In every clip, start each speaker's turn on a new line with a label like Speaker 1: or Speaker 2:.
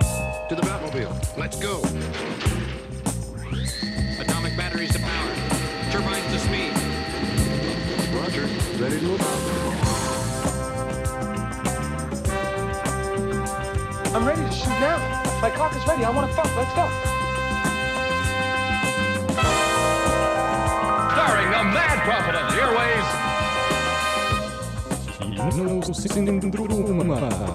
Speaker 1: to the Batmobile. Let's go.
Speaker 2: Atomic batteries to power. Turbines to speed.
Speaker 1: Roger. Ready to move?
Speaker 3: I'm ready to shoot now. My cock is ready. I want to fuck. Let's go.
Speaker 4: Starring the mad prophet of the airways,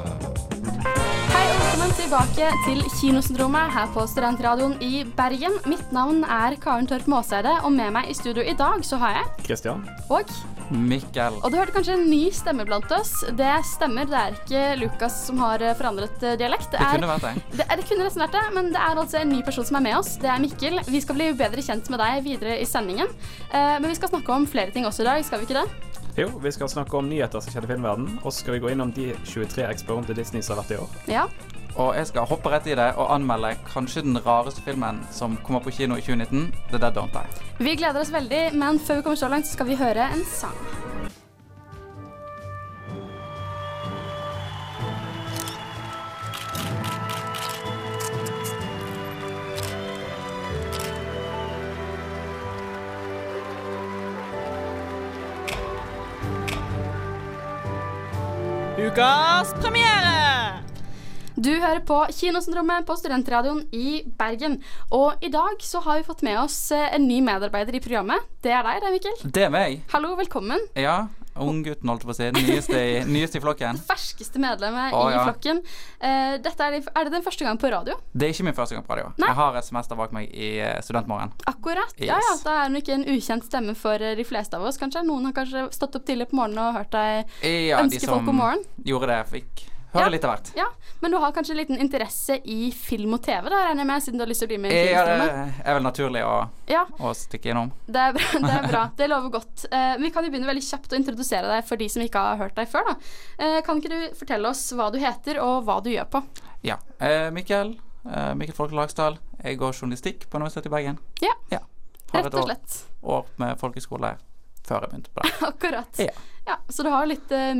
Speaker 5: Hei og velkommen tilbake til Kinosyndromet her på Studentradioen i Bergen. Mitt navn er Karen Tørp Maaseide, og med meg i studio i dag så har jeg
Speaker 6: Kristian.
Speaker 5: og
Speaker 7: Mikkel.
Speaker 5: Og du hørte kanskje en ny stemme blant oss. Det stemmer, det er ikke Lukas som har eh, forandret eh, dialekt.
Speaker 7: Det kunne vært deg.
Speaker 5: Det, det kunne nesten vært det, men det er altså en ny person som er med oss. Det er Mikkel. Vi skal bli bedre kjent med deg videre i sendingen. Eh, men vi skal snakke om flere ting også i dag, skal vi ikke det?
Speaker 6: Jo, vi skal snakke om nyheter som skjedde i filmverden, og så skal vi gå innom de 23 eksportene til Disney som har vært i år.
Speaker 5: Ja.
Speaker 7: Og jeg skal hoppe rett i det og anmelde kanskje den rareste filmen som kommer på kino i 2019, The Dead Don't Die.
Speaker 5: Vi gleder oss veldig, men før vi kommer så langt, så skal vi høre en sang.
Speaker 8: Ukas premiere!
Speaker 5: Du hører på Kinosyndromet på Studentradioen i Bergen. Og i dag så har vi fått med oss eh, en ny medarbeider i programmet. Det er deg, det, Mikkel.
Speaker 7: Det er meg.
Speaker 5: Hallo, velkommen.
Speaker 7: Ja, unggutten holdt jeg på å si. Den Nyeste i, nyeste i flokken.
Speaker 5: Ferskeste medlemmet
Speaker 7: Å,
Speaker 5: i
Speaker 7: ja.
Speaker 5: flokken. Eh, dette er, din- er det den første gang på radio?
Speaker 7: Det er ikke min første gang på radio.
Speaker 5: Nei.
Speaker 7: Jeg har et semester bak meg i eh, studentmorgen.
Speaker 5: Akkurat. Ja, ja,
Speaker 7: Yes.
Speaker 5: Da er hun ikke en ukjent stemme for eh, de fleste av oss, kanskje. Noen har kanskje stått opp tidlig på morgenen og hørt deg
Speaker 7: Ja,
Speaker 5: Ønsker folk god morgen.
Speaker 7: gjorde det, fikk
Speaker 5: Ja.
Speaker 7: høre litt av hvert.
Speaker 5: Ja, men du har kanskje en liten interesse i film og TV, da, regner jeg med, siden du har lyst til å bli med i
Speaker 7: Ja, det
Speaker 5: Kinosyndromet?
Speaker 7: er eh, vel naturlig å,
Speaker 5: Ja,
Speaker 7: å stikke innom.
Speaker 5: Det er bra. Det, er bra. det lover godt. Eh, men vi kan jo begynne veldig kjapt å introdusere deg for de som ikke har hørt deg før. Da. Eh, kan ikke du fortelle oss hva du heter, og hva du gjør på?
Speaker 7: Ja. Eh, Mikkel. Eh, Mikkel Folke Lagsdal. Jeg går journalistikk på Universitetet i Bergen.
Speaker 5: Ja,
Speaker 7: Ja. Har
Speaker 5: rett
Speaker 7: et
Speaker 5: og
Speaker 7: år-
Speaker 5: slett.
Speaker 7: år med folkeskole før jeg begynte på det.
Speaker 5: Akkurat.
Speaker 7: Ja.
Speaker 5: Ja, så du har jo litt eh,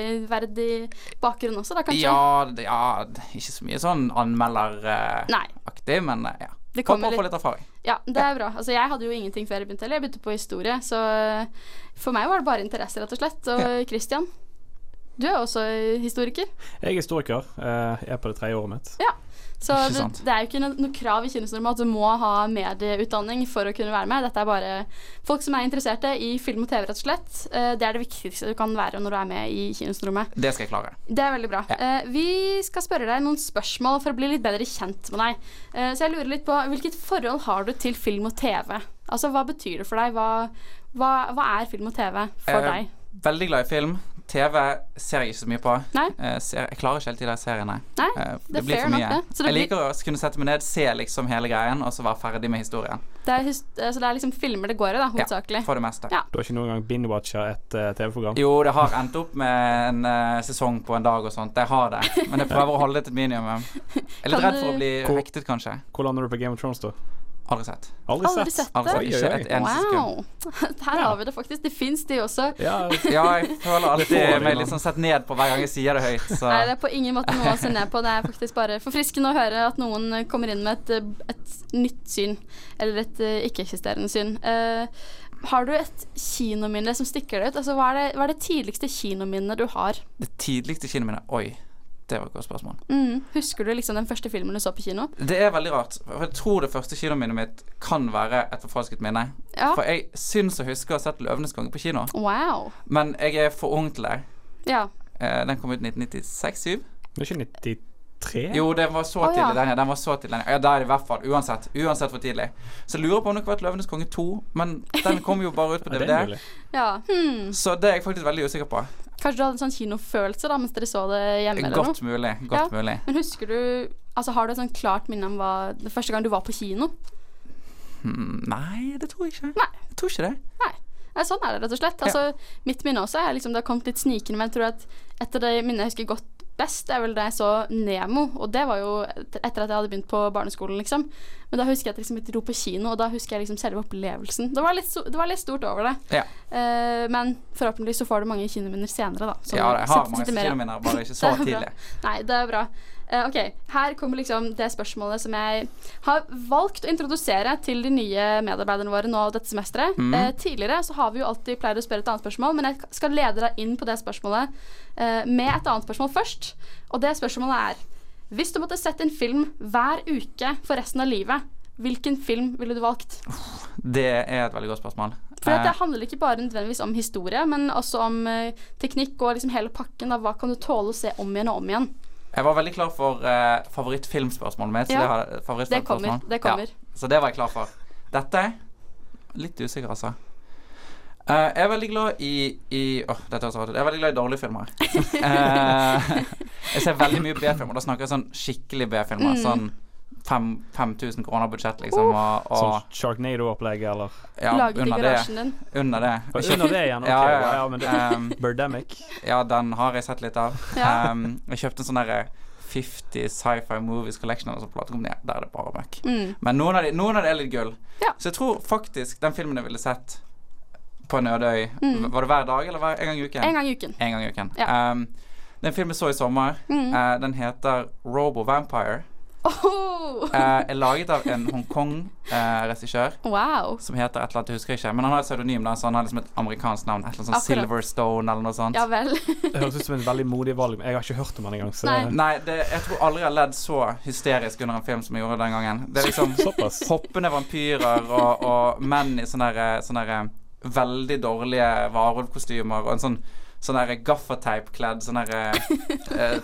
Speaker 5: medieverdig bakgrunn også, da kanskje?
Speaker 7: Ja, d- ja, d- ikke så mye sånn anmelderaktig,
Speaker 5: Nei.
Speaker 7: men eh, ja.
Speaker 5: Det
Speaker 7: Håper
Speaker 5: kommer
Speaker 7: å få
Speaker 5: litt-
Speaker 7: litt erfaring.
Speaker 5: Ja, det er bra. Altså, jeg hadde jo ingenting før jeg begynte heller. Jeg begynte på historie, så eh, for meg var det bare interesse, rett og slett. Og Christian, du er jo også historiker.
Speaker 6: Jeg er historiker, eh, er på det tredje året mitt.
Speaker 5: Ja, så
Speaker 7: Ikke
Speaker 5: det,
Speaker 7: sant.
Speaker 5: det er jo ikke no- noe krav i Kinosyndromet at du må ha medieutdanning for å kunne være med. Dette er bare folk som er interesserte i film og TV, rett og slett. Eh, Det er det viktigste du kan være når du er med i Kinosyndromet.
Speaker 7: Det skal jeg klare.
Speaker 5: Det er veldig bra. Eh, Vi skal spørre deg noen spørsmål for å bli litt bedre kjent med deg. Eh, Så jeg lurer litt på hvilket forhold har du til film og TV? Altså, hva betyr det for deg? Hva, hva, hva er film og TV for
Speaker 7: Eh,
Speaker 5: deg?
Speaker 7: Veldig glad i film. TV ser jeg ikke så mye på.
Speaker 5: Nei.
Speaker 7: Eh, ser, jeg klarer ikke hele tiden de seriene.
Speaker 5: Nei,
Speaker 7: Eh,
Speaker 5: det er
Speaker 7: blir
Speaker 5: fair
Speaker 7: for mye.
Speaker 5: nok, det. Så det
Speaker 7: Jeg
Speaker 5: blir-
Speaker 7: liker å kunne sette meg ned, se liksom hele greien, og så være ferdig med historien.
Speaker 5: Det er, hus- eh, så det er liksom filmer det går i, da, hovedsakelig.
Speaker 7: For det meste.
Speaker 5: Ja.
Speaker 6: Du har ikke noen gang binge-watcha et eh, TV-program?
Speaker 7: Jo, det har endt opp med en eh, sesong på en dag og sånt. Jeg har det. Men jeg prøver å holde det til et minimum. Jeg er
Speaker 5: Kan
Speaker 7: litt redd for
Speaker 5: du-
Speaker 7: å bli
Speaker 6: Hvor-
Speaker 7: hektet, kanskje.
Speaker 6: Hvor lander du på Game of Thrones, da?
Speaker 7: Aldri sett.
Speaker 6: Aldri,
Speaker 5: Aldri sett det.
Speaker 7: Aldri sett. Ikke
Speaker 6: Oi, oi, oi.
Speaker 7: et eneste sekund.
Speaker 5: Wow. Her har vi det faktisk. Det fins de også.
Speaker 6: Ja,
Speaker 7: Ja, jeg føler
Speaker 6: får
Speaker 7: alltid
Speaker 6: du,
Speaker 7: meg
Speaker 6: mann.
Speaker 7: litt sånn sett ned på hver gang jeg sier det høyt, så
Speaker 5: Nei, det er på ingen måte noe å se ned på. Det er faktisk bare forfriskende å høre at noen kommer inn med et, et nytt syn, eller et eh, ikke-eksisterende syn. Eh, har du et kinominne som stikker deg ut? Altså, hva, er det, hva er det tidligste kinominnet du har?
Speaker 7: det tidligste kinoet mine Oi, det var et godt spørsmål.
Speaker 5: Mm. Husker du liksom den første filmen du så på kino?
Speaker 7: Det er veldig rart. For jeg tror det første kinominnet mitt kan være et forfalsket minne.
Speaker 5: Ja.
Speaker 7: For jeg syns jeg husker å ha sett 'Løvenes konge' på kino,
Speaker 5: Wow.
Speaker 7: men jeg er for ung til det.
Speaker 5: Ja.
Speaker 7: Eh, Den kom ut i 1996-7.
Speaker 6: Det er ikke 93?
Speaker 7: Jo, den var så
Speaker 5: Å, ja.
Speaker 7: tidlig. Den, ja. den var så tidlig. Ja, da er det i hvert fall. Uansett. Uansett for tidlig. Så jeg lurer på om det kunne vært 'Løvenes konge 2', men den kom jo bare ut på
Speaker 6: Ja, det er
Speaker 7: DVD.
Speaker 6: mulig.
Speaker 5: ja. Hm.
Speaker 7: Så det er jeg faktisk veldig usikker på.
Speaker 5: Kanskje du hadde en sånn kinofølelse da mens dere så det hjemme? eller noe?
Speaker 7: Godt mulig. Godt
Speaker 5: Ja.
Speaker 7: mulig.
Speaker 5: Men husker du Altså, har du et sånn klart minne om hva det første gang du var på kino?
Speaker 7: Hmm, Nei, det tror jeg ikke.
Speaker 5: Nei.
Speaker 7: Jeg tror ikke det.
Speaker 5: Nei. Nei, sånn er det rett og slett. Altså, Mitt minne også er liksom, det har kommet litt snikende, men jeg tror at et av de minnene jeg husker godt best, er vel da jeg så Nemo, og det var jo et- etter at jeg hadde begynt på barneskolen, liksom. Men da husker jeg at liksom, jeg dro på kino, og da husker jeg liksom selve opplevelsen. Det var litt, so- det var litt stort over det.
Speaker 7: Ja.
Speaker 5: Eh, men forhåpentligvis så får du mange kinominner senere, da. som
Speaker 7: ja, jeg har
Speaker 5: setter-
Speaker 7: mange
Speaker 5: sitter mer-
Speaker 7: kinominner, bare ikke så
Speaker 5: Det er bra.
Speaker 7: tidlig.
Speaker 5: Nei, det er bra. Eh, ok, Her kommer liksom det spørsmålet som jeg har valgt å introdusere til de nye medarbeiderne våre nå dette semesteret.
Speaker 7: Mm.
Speaker 5: Eh, tidligere så har vi jo alltid pleid å spørre et annet spørsmål, men jeg skal lede deg inn på det spørsmålet eh, med et annet spørsmål først. Og det spørsmålet er Hvis du måtte sett en film hver uke for resten av livet, hvilken film ville du valgt?
Speaker 7: Det er et veldig godt spørsmål.
Speaker 5: For at
Speaker 7: Eh,
Speaker 5: det handler ikke bare nødvendigvis om historie, men også om eh, teknikk og liksom hele pakken. Da. Hva kan du tåle å se om igjen og om igjen?
Speaker 7: Jeg var veldig klar for eh, favorittfilmspørsmålet mitt. Så
Speaker 5: Ja.
Speaker 7: det, har, favorittfilmspørsmål.
Speaker 5: Det kommer, det kommer.
Speaker 7: Ja, så det var jeg klar for. Dette Litt usikker, altså. Eh, jeg er veldig glad i, i åh, dette høres rart ut. Jeg er veldig glad i dårlige filmer. Eh, jeg ser veldig mye B-filmer. Da snakker jeg sånn skikkelig B-filmer.
Speaker 5: Mm.
Speaker 7: Sånn fem- 5000 kroner budsjett, liksom. Og,
Speaker 6: Sånn
Speaker 7: og
Speaker 6: Sharknado-opplegg, eller
Speaker 7: ja,
Speaker 5: Uh, Laget i
Speaker 7: under det.
Speaker 5: garasjen din.
Speaker 7: Under det.
Speaker 6: Og Under det igjen, ok.
Speaker 7: Ja,
Speaker 6: Ja,
Speaker 7: ja, ja.
Speaker 6: men det
Speaker 7: Um,
Speaker 6: Birdemic.
Speaker 7: Ja, den har jeg sett litt av.
Speaker 5: Ja.
Speaker 7: Um, jeg kjøpte en sånn derre 50 Sci-Fi Movies Collection eller sånn platekompani. Der er det bare møkk.
Speaker 5: Mm.
Speaker 7: Men noen av, de, noen av de er litt gull.
Speaker 5: Ja.
Speaker 7: Så jeg tror faktisk den filmen jeg ville sett på en øde øy Var det hver dag eller hver, en gang i uken?
Speaker 5: Mm. En gang i uken. Mm.
Speaker 7: En gang i uken.
Speaker 5: Ja.
Speaker 7: Um, den filmen jeg så i sommer, eh, den heter Robo Vampire.
Speaker 5: Oh,
Speaker 7: Eh, er laget av en Hongkong-regissør
Speaker 5: wow.
Speaker 7: som heter et eller annet, jeg husker ikke. Men han har et pseudonym, da, så han har liksom et amerikansk navn. Et eller annet sånn
Speaker 5: Akkurat.
Speaker 7: Silverstone eller noe sånt.
Speaker 5: Ja vel.
Speaker 6: Det høres ut som en veldig modig valg, men jeg har ikke hørt om han engang. Så
Speaker 5: Nei.
Speaker 6: det,
Speaker 7: Nei, det, jeg tror aldri jeg har ledd så hysterisk under en film som jeg gjorde den gangen. Det er liksom
Speaker 6: Såpass.
Speaker 7: hoppende vampyrer og, og menn i sånne, der- sånne der veldig dårlige varulvkostymer og en sånn Sånn der gaffateipkledd, sånn der eh,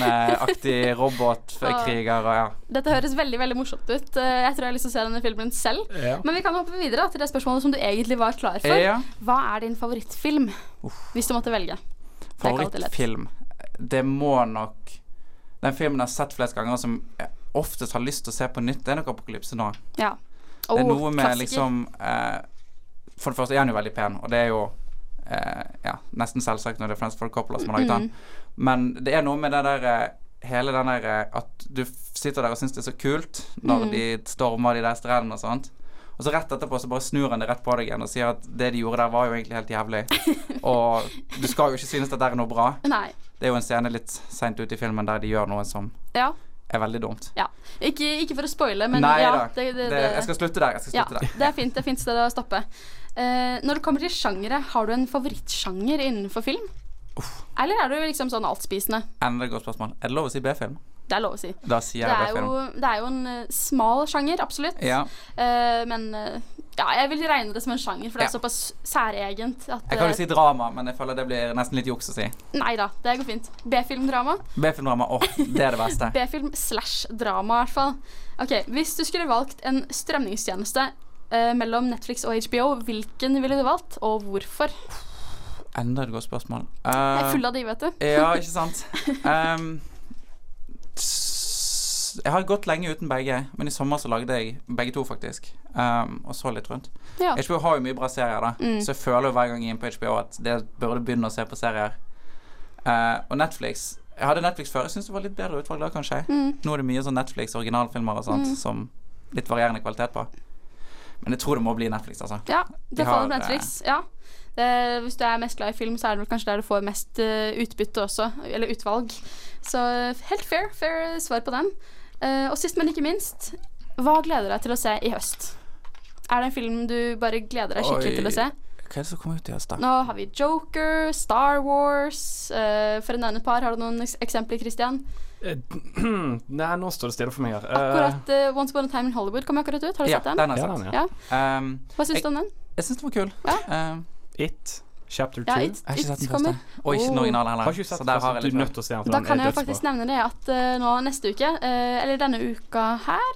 Speaker 7: takrenneaktig robotkriger og ja.
Speaker 5: Dette høres veldig veldig morsomt ut. Eh, Jeg tror jeg har lyst til å se denne filmen selv.
Speaker 6: Ja.
Speaker 5: Men vi kan hoppe videre da, til det spørsmålet som du egentlig var klar for.
Speaker 7: Ja.
Speaker 5: Hva er din favorittfilm? Hvis du måtte velge. Det er ikke alltid lett.
Speaker 7: Favorittfilm. Det må nok Den filmen jeg har sett flest ganger, og som jeg oftest har lyst til å se på nytt, det er nok 'Apokalypse nå'.
Speaker 5: Ja.
Speaker 7: Det er
Speaker 5: Oh,
Speaker 7: noe med
Speaker 5: klassiker.
Speaker 7: liksom eh, For det første er han jo veldig pen, og det er jo eh, ja, nesten selvsagt når det er Friends for Coppola som har laget
Speaker 5: Mm.
Speaker 7: han. Men det er noe med det der eh, Hele den der eh, At du f- sitter der og syns det er så kult når
Speaker 5: Mm.
Speaker 7: de stormer de der strendene og sånt. Og så rett etterpå så bare snur han det rett på deg igjen og sier at det de gjorde der, var jo egentlig helt jævlig. og du skal jo ikke synes at det er noe bra.
Speaker 5: Nei.
Speaker 7: Det er jo en scene litt seint ute i filmen der de gjør noe som
Speaker 5: Ja.
Speaker 7: er veldig dumt.
Speaker 5: ja. Ikke, ikke for å spoile, men
Speaker 7: Nei
Speaker 5: ja.
Speaker 7: da.
Speaker 5: det- det-
Speaker 7: det,
Speaker 5: det-
Speaker 7: jeg skal slutte der. Jeg skal
Speaker 5: ja,
Speaker 7: slutte der.
Speaker 5: det er fint. Det er fint sted å stoppe. Eh, når det kommer til sjangere, har du en favorittsjanger innenfor film? Eller er du liksom sånn altspisende?
Speaker 7: Enda et godt spørsmål. Er det lov å si B-film?
Speaker 5: Det er lov å si.
Speaker 7: Da sier
Speaker 5: Det
Speaker 7: jeg
Speaker 5: er,
Speaker 7: det.
Speaker 5: jo,
Speaker 7: film.
Speaker 5: det er jo en eh, smal sjanger, absolutt.
Speaker 7: Ja.
Speaker 5: Eh, men eh, ja, jeg vil regne det som en sjanger, for det er
Speaker 7: Ja.
Speaker 5: såpass særegent. At, eh,
Speaker 7: Jeg kan jo si drama, men jeg føler det blir nesten litt juks å si.
Speaker 5: Nei da, det går fint. B-filmdrama.
Speaker 7: B-filmdrama, åh, det er det beste.
Speaker 5: B-film slash drama, i hvert fall. Ok, Hvis du skulle valgt en strømningstjeneste eh, mellom Netflix og HBO, hvilken ville du valgt, og hvorfor?
Speaker 7: Enda et godt spørsmål.
Speaker 5: Jeg er
Speaker 7: Eh,
Speaker 5: full av de, vet du.
Speaker 7: ja, ikke sant. Ehm, s- jeg har gått lenge uten begge, men i sommer så lagde jeg begge to, faktisk. Ehm, og så litt rundt.
Speaker 5: Ja.
Speaker 7: HBO har jo mye bra serier, da,
Speaker 5: Mm.
Speaker 7: så jeg føler jo hver gang jeg er inne på HBO at det burde begynne å se på serier. Eh, og Netflix Jeg hadde Netflix før. Jeg syns det var litt bedre utvalg da, kanskje.
Speaker 5: Mm.
Speaker 7: Nå er det mye sånn Netflix-originalfilmer og sånt som litt varierende kvalitet på. Men jeg tror det må bli Netflix, altså.
Speaker 5: Ja, det
Speaker 7: har,
Speaker 5: faller på Netflix. Ja. Eh, hvis du er mest glad i film, så er det vel kanskje der du får mest eh, utbytte også, eller utvalg. Så eh, helt fair, fair svar på den. Eh, og sist, men ikke minst, hva gleder du deg til å se i høst? Er det en film du bare gleder deg skikkelig
Speaker 7: Oi.
Speaker 5: til å se?
Speaker 7: Hva er det som kommer ut i høst, da?
Speaker 5: Nå har vi Joker, Star Wars eh, For å nevne et par, har du noen eks- eksempler, Christian?
Speaker 6: Eh, Nei, nå står det stille for meg her. Eh,
Speaker 5: Akkurat eh, Once Upon a Time in Hollywood kom akkurat ut. Har du
Speaker 7: Ja,
Speaker 5: sett
Speaker 7: den
Speaker 5: den?
Speaker 7: har jeg
Speaker 6: Ja,
Speaker 7: sett.
Speaker 6: den, ja.
Speaker 5: Ja.
Speaker 7: Um,
Speaker 5: Hva syns
Speaker 7: Jeg-
Speaker 5: du om den?
Speaker 7: jeg syns den var kul. Um,
Speaker 6: Eh, It, chapter
Speaker 5: Ja,
Speaker 6: two.
Speaker 5: It,
Speaker 7: jeg har ikke sett
Speaker 5: It
Speaker 7: den
Speaker 5: kommer.
Speaker 7: første. Og ikke den
Speaker 5: Oh.
Speaker 7: originale heller.
Speaker 6: Har ikke du sett
Speaker 7: så der har
Speaker 6: den?
Speaker 7: jeg
Speaker 6: Du
Speaker 7: litt
Speaker 6: er nødt til å se den. for
Speaker 5: Da
Speaker 6: den
Speaker 5: kan
Speaker 6: er
Speaker 5: jeg jo
Speaker 6: dødsbra.
Speaker 5: faktisk nevne det at eh, nå neste uke, eh, eller denne uka her,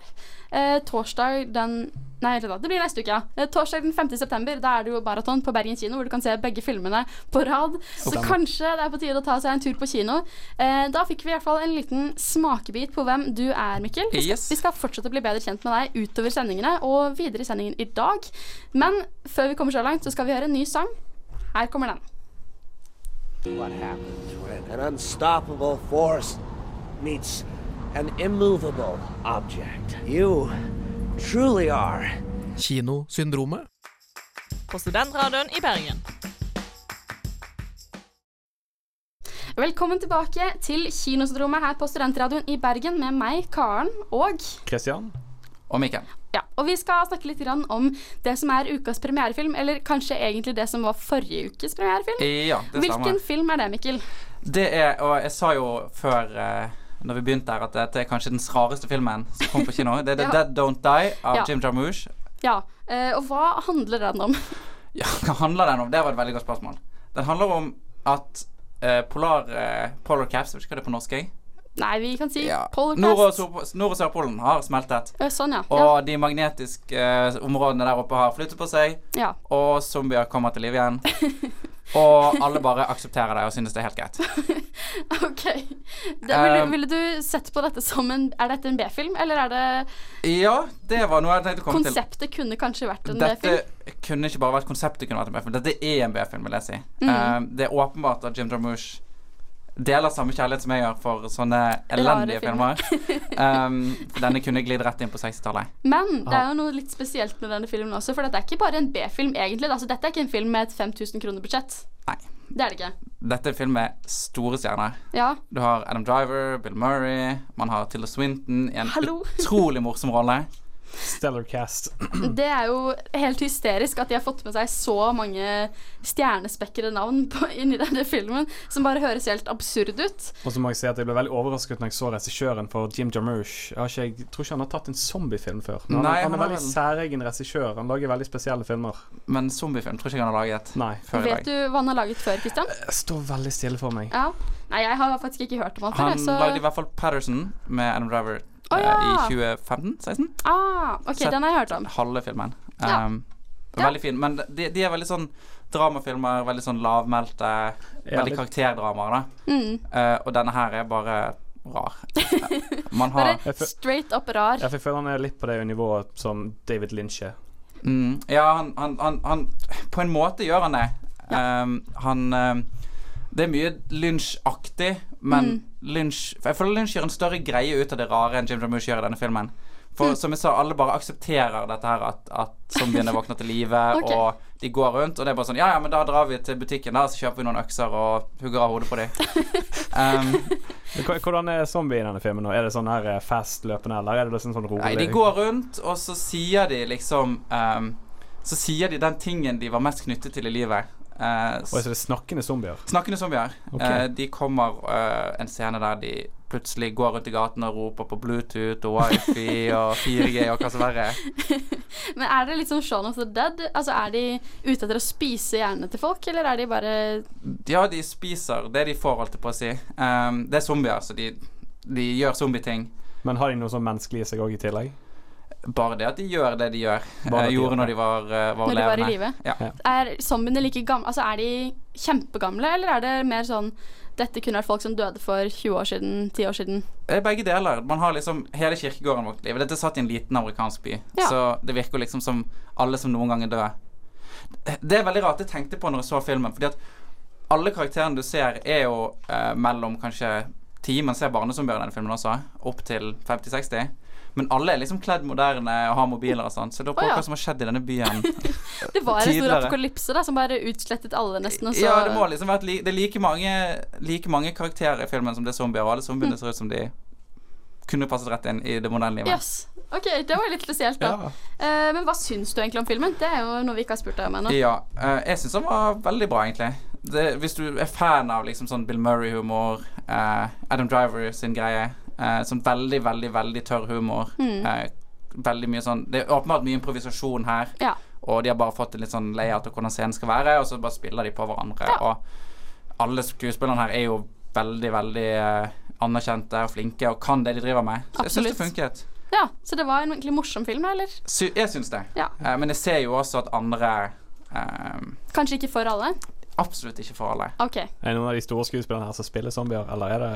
Speaker 5: eh, torsdag den Nei, vent da, det blir neste uke, ja. Eh, torsdag den 5. september. Da er det jo maraton på Bergen kino, hvor du kan se begge filmene på rad. Så
Speaker 6: Stemmer.
Speaker 5: kanskje det er på tide å ta seg en tur på kino. Eh, da fikk vi i hvert fall en liten smakebit på hvem du er, Mikkel. Vi skal,
Speaker 7: Yes.
Speaker 5: vi skal fortsette å bli bedre kjent med deg utover sendingene og videre i sendingen i dag. Men før vi kommer så langt, så skal vi høre en ny sang. Her kommer den.
Speaker 9: what happens when an unstoppable force meets an immovable object. You truly are
Speaker 10: Kinosyndromet.
Speaker 8: På Studentradioen i Bergen.
Speaker 5: Velkommen tilbake til Kinosyndromet her på Studentradioen i Bergen med meg, Karen, og
Speaker 6: Christian?
Speaker 7: Og Mikkel.
Speaker 5: ja, og vi skal snakke litt grann om det som er ukas premierefilm, eller kanskje egentlig det som var forrige ukes premierefilm.
Speaker 7: Ja, det stemmer.
Speaker 5: Hvilken film er det, Mikkel?
Speaker 7: Det er, og jeg sa jo før eh, når vi begynte her, at dette er kanskje den rareste filmen som kom på kino. Det er The
Speaker 5: Ja.
Speaker 7: Dead Don't Die av
Speaker 5: Ja.
Speaker 7: Jim Jarmusch.
Speaker 5: Ja, eh, og hva handler den om?
Speaker 7: Ja, hva handler den om? Det var et veldig godt spørsmål. Den handler om at eh, polar, eh, polar caps, jeg vet ikke hva det er på norsk, jeg.
Speaker 5: Nei, vi kan si ja.
Speaker 7: Nord- og Sør- Nord- og Sørpolen har smeltet.
Speaker 5: Sånn, ja.
Speaker 7: Og de magnetiske eh, områdene der oppe har flyttet på seg,
Speaker 5: ja.
Speaker 7: og zombier kommer til liv igjen. Og alle bare aksepterer det og synes det er helt greit.
Speaker 5: ja. OK. Da, ville,
Speaker 7: Um,
Speaker 5: ville du sett på dette som en Er dette en B-film, eller er det
Speaker 7: Ja, det var noe jeg tenkte å komme til.
Speaker 5: Konseptet kunne kanskje vært en
Speaker 7: Dette
Speaker 5: B-film?
Speaker 7: kunne ikke bare vært konseptet kunne vært en B-film. Dette er en B-film, vil jeg si.
Speaker 5: Mm.
Speaker 7: Eh, det er åpenbart at Jim Jarmusch deler samme kjærlighet som jeg gjør for sånne elendige
Speaker 5: filmer.
Speaker 7: filmer. Um, for denne kunne glidd rett inn på 60-tallet.
Speaker 5: Men det er jo noe litt spesielt med denne filmen også, for dette er ikke bare en B-film, egentlig. Altså, dette er ikke en film med et 5000 kroner budsjett.
Speaker 7: Nei.
Speaker 5: Det er det ikke.
Speaker 7: Dette er en film med store stjerner.
Speaker 5: Ja.
Speaker 7: Du har Adam Driver, Bill Murray, man har Tilda Swinton i en
Speaker 5: Hallo.
Speaker 7: utrolig morsom rolle.
Speaker 6: Stellar Cast.
Speaker 5: Det er jo helt hysterisk at de har fått med seg så mange stjernespekkede navn på, inni denne filmen, som bare høres helt absurd ut.
Speaker 6: Og så må jeg si at jeg ble veldig overrasket når jeg så regissøren for Jim Jarmusch. Jeg, har ikke, jeg tror ikke han har tatt en zombiefilm før. Men han,
Speaker 7: Nei,
Speaker 6: han,
Speaker 7: han
Speaker 6: er
Speaker 7: har
Speaker 6: veldig
Speaker 7: vel-
Speaker 6: særegen regissør. Han lager veldig spesielle filmer.
Speaker 7: Men zombiefilm tror ikke jeg han har laget
Speaker 6: Nei.
Speaker 7: før i
Speaker 5: Vet
Speaker 7: dag.
Speaker 5: du hva han har laget før, Christian?
Speaker 6: Det står veldig stille for meg.
Speaker 5: Ja. Nei, jeg har faktisk ikke hørt om han før.
Speaker 7: Han
Speaker 5: jeg, så...
Speaker 7: lagde i hvert fall Patterson med Adam Driver
Speaker 5: altså- Å,
Speaker 7: eh,
Speaker 5: ja.
Speaker 7: i 2015-16.
Speaker 5: Ah, OK,
Speaker 7: Sett-
Speaker 5: den har jeg hørt om.
Speaker 7: halve filmen.
Speaker 5: Ja.
Speaker 7: Um,
Speaker 5: Ja.
Speaker 7: Veldig fin. Men de, de er veldig sånn dramafilmer, veldig sånn lavmælte,
Speaker 6: Ja,
Speaker 7: veldig
Speaker 6: litt-
Speaker 7: karakterdramaer, da.
Speaker 5: Mm.
Speaker 7: Eh, og denne her er bare rar. Man har
Speaker 5: Bare
Speaker 6: Jeg fø-
Speaker 5: straight up rar.
Speaker 6: Jeg føler han er litt på det nivået som David Lynch er.
Speaker 7: mm, Ja, han, han, han, han På en måte gjør han det. Um, han um, Det er mye Lynch-aktig, men Lynch for Jeg føler Lynch gjør en større greie ut av det rare enn Jim Jarmusch gjør i denne filmen. For som jeg sa, alle bare aksepterer dette her at, at zombiene våkner til live,
Speaker 5: Ok.
Speaker 7: og de går rundt, og det er bare sånn Ja, ja, men da drar vi til butikken der, så kjøper vi noen økser og hugger av hodet på dem. Um,
Speaker 6: Men hva- Hvordan er zombie i denne filmen nå? Er det sånn her eh, fastløpende, eller er det liksom sånn rolig?
Speaker 7: Nei, de går rundt, og så sier de liksom ehm, Så sier de den tingen de var mest knyttet til i livet. Eh, s-
Speaker 6: Oi, så det er snakkende zombier.
Speaker 7: snakkende zombier. Eh, de kommer eh, en scene der de plutselig går rundt i gaten og roper på Bluetooth og wifi og 4G og hva som verre er.
Speaker 5: Men er det litt sånn Shaun of the Dead? Altså, Er de ute etter å spise hjernene til folk, eller er de bare
Speaker 7: Ja, de spiser det de får, holdt jeg på å si. Ehm, det er zombier, så de, de gjør zombieting.
Speaker 6: Men har de noe sånn menneskelig i seg òg i tillegg?
Speaker 7: Bare det at de gjør det de gjør,
Speaker 6: Bare
Speaker 7: eh,
Speaker 6: at de gjør
Speaker 7: gjorde når de
Speaker 6: det.
Speaker 7: var, eh, var
Speaker 5: Når de var i
Speaker 7: levende.
Speaker 5: live?
Speaker 7: Ja.
Speaker 5: Er zombiene like gamle Altså, er de kjempegamle, eller er det mer sånn dette kunne vært folk som døde for 20 år siden, 10 år siden.
Speaker 7: Det er begge deler. Man har liksom hele kirkegården vårt liv. Dette er satt i en liten amerikansk by,
Speaker 5: Ja.
Speaker 7: så det virker liksom som alle som noen gang er døde. Det er veldig rart jeg tenkte på når jeg så filmen, fordi at alle karakterene du ser, er jo eh, mellom kanskje ti, man ser barnesombier i denne filmen også, opp til 50-60. Men alle er liksom kledd moderne og har mobiler og sånn, så jeg lurer på
Speaker 5: Å, ja.
Speaker 7: hva som har skjedd i denne byen.
Speaker 5: Det var en stor
Speaker 7: Tidligere.
Speaker 5: apokalypse da, som bare utslettet alle, nesten. Og så,
Speaker 7: Ja, det må liksom være at li det er like mange, like mange karakterer i filmen som det er zombier, og alle zombiene ser ut som de kunne passet rett inn i det moderne livet.
Speaker 5: Jøss. OK, det var litt spesielt, da.
Speaker 6: Ja.
Speaker 5: Eh, men hva syns du egentlig om filmen? Det er jo noe vi ikke har spurt deg om ennå.
Speaker 7: Ja, eh, jeg syns han var veldig bra, egentlig. Det, hvis du er fan av liksom sånn Bill Murray-humor, eh, Adam Driver sin greie, eh, sånn veldig, veldig, veldig tørr humor
Speaker 5: Mm.
Speaker 7: eh, Veldig mye sånn Det er åpenbart mye improvisasjon her,
Speaker 5: Ja.
Speaker 7: og de har bare fått en litt sånn layout av hvordan scenen skal være, og så bare spiller de på hverandre,
Speaker 5: Ja.
Speaker 7: og alle skuespillerne her er jo veldig, veldig eh, anerkjente og flinke og kan det de driver med. Så jeg syns det
Speaker 5: Absolutt.
Speaker 7: funket.
Speaker 5: ja. Så det var en egentlig morsom film, da, eller?
Speaker 7: Sy jeg syns det.
Speaker 5: Ja.
Speaker 7: Eh, men jeg ser jo også at andre eh,
Speaker 5: Kanskje ikke for alle?
Speaker 7: Absolutt ikke for alle.
Speaker 5: OK.
Speaker 6: Er det noen av de store skuespillerne her som spiller zombier, eller er det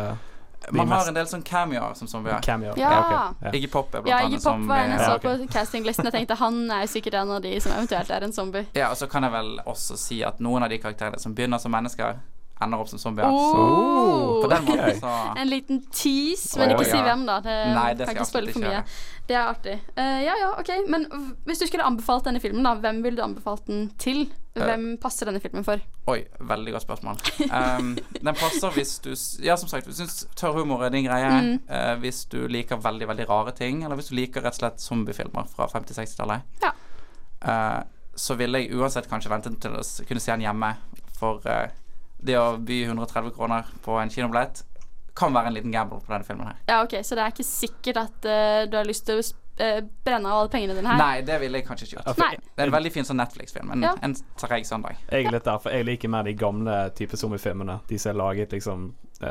Speaker 6: de
Speaker 7: Man har
Speaker 6: mest
Speaker 7: en del sånn cameoer som zombier.
Speaker 6: cameo?
Speaker 5: Ja.
Speaker 6: ok, ja.
Speaker 7: Iggy Pop er blant
Speaker 5: Ja, Iggy
Speaker 7: annet
Speaker 5: Pop
Speaker 7: som
Speaker 5: var en jeg
Speaker 7: eh,
Speaker 5: så
Speaker 6: Ja, ok.
Speaker 5: på castinglisten. Jeg tenkte han er jo sikkert en av de som eventuelt er en zombie.
Speaker 7: ja, og så kan jeg vel også si at noen av de karakterene som begynner som mennesker, ender opp som zombier.
Speaker 5: Oh.
Speaker 7: så på den måten så
Speaker 5: En liten tease, men
Speaker 7: Å,
Speaker 5: ikke si
Speaker 7: ja.
Speaker 5: hvem, da. Det,
Speaker 7: Nei, det
Speaker 5: kan
Speaker 7: skal
Speaker 5: ikke
Speaker 7: jeg
Speaker 5: spoile
Speaker 7: absolutt
Speaker 5: for
Speaker 7: ikke
Speaker 5: mye.
Speaker 7: gjøre.
Speaker 5: Det er artig. Eh, ja, ja, ok. Men v- hvis du skulle anbefalt denne filmen, da, hvem ville du anbefalt den til?
Speaker 7: Eh.
Speaker 5: Hvem passer denne filmen for?
Speaker 7: Oi, veldig godt spørsmål. Um, den passer hvis du s- Ja, som sagt, hvis du syns tørr humor er din greie,
Speaker 5: Mm.
Speaker 7: eh, hvis du liker veldig, veldig rare ting, eller hvis du liker rett og slett zombiefilmer fra 50-60-tallet,
Speaker 5: Ja.
Speaker 7: eh, så ville jeg uansett kanskje ventet til å s- kunne se den hjemme. For eh, det å by 130 kroner på en kinobillett kan være en liten gamble på denne filmen her.
Speaker 5: Ja, ok, Så det er ikke sikkert at eh, du har lyst til å eh, brenne av alle pengene dine her?
Speaker 7: Nei, det ville jeg kanskje ikke gjort.
Speaker 5: Nei.
Speaker 7: Det er en veldig fin sånn Netflix-film. En,
Speaker 5: Ja.
Speaker 7: en treg søndag.
Speaker 6: Jeg er litt der, for jeg liker mer de gamle type zombiefilmene. De som er laget liksom eh,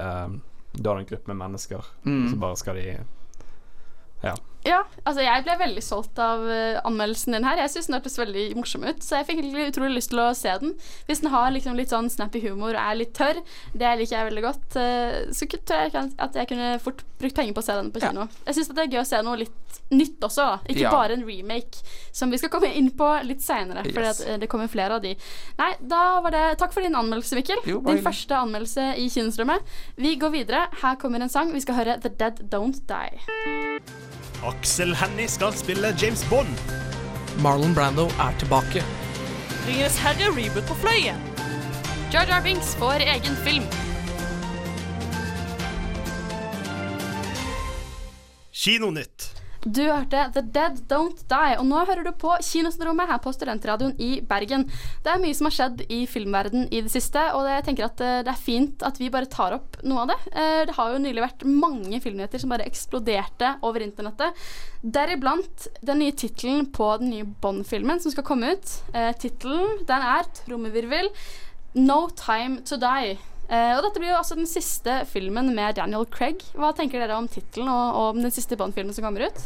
Speaker 6: Da har du en gruppe med mennesker,
Speaker 7: Mm.
Speaker 6: så bare skal de Ja.
Speaker 5: Ja, altså jeg ble veldig solgt av eh, anmeldelsen din her. Jeg syns den hørtes veldig morsom ut, så jeg fikk egentlig utrolig lyst til å se den. Hvis den har liksom litt sånn snappy humor og er litt tørr, det liker jeg veldig godt, eh, så ku- tror jeg kan- at jeg kunne fort brukt penger på å se den på
Speaker 7: Ja.
Speaker 5: kino. Jeg syns det er gøy å se noe litt nytt også, da. Ikke
Speaker 7: Ja.
Speaker 5: bare en remake, som vi skal komme inn på litt seinere, for
Speaker 7: Yes.
Speaker 5: eh, det kommer flere av de. Nei, da var det Takk for din anmeldelse, Mikkel.
Speaker 7: Jo, bare
Speaker 5: din
Speaker 7: hyggelig.
Speaker 5: første anmeldelse i Kinostrømmet. Vi går videre. Her kommer en sang. Vi skal høre The Dead Don't Die.
Speaker 11: Aksel Hennie skal spille James Bond.
Speaker 10: Marlon Brando er tilbake.
Speaker 8: Ringenes herre reboot på fløyen.
Speaker 5: Jar Jar Binks får egen film.
Speaker 11: Kinonytt.
Speaker 5: Du hørte The Dead Don't Die, og nå hører du på Kinosyndromet her på Studentradioen i Bergen. Det er mye som har skjedd i filmverden i det siste, og det- jeg tenker at eh, det er fint at vi bare tar opp noe av det. Eh, Det har jo nylig vært mange filmnyheter som bare eksploderte over internettet, deriblant den nye tittelen på den nye Bond-filmen som skal komme ut. Eh, Tittelen, den er trommevirvel No Time To Die. Eh, og dette blir jo også den siste filmen med Daniel Craig. Hva tenker dere om tittelen og, og om den siste Bond-filmen som kommer ut?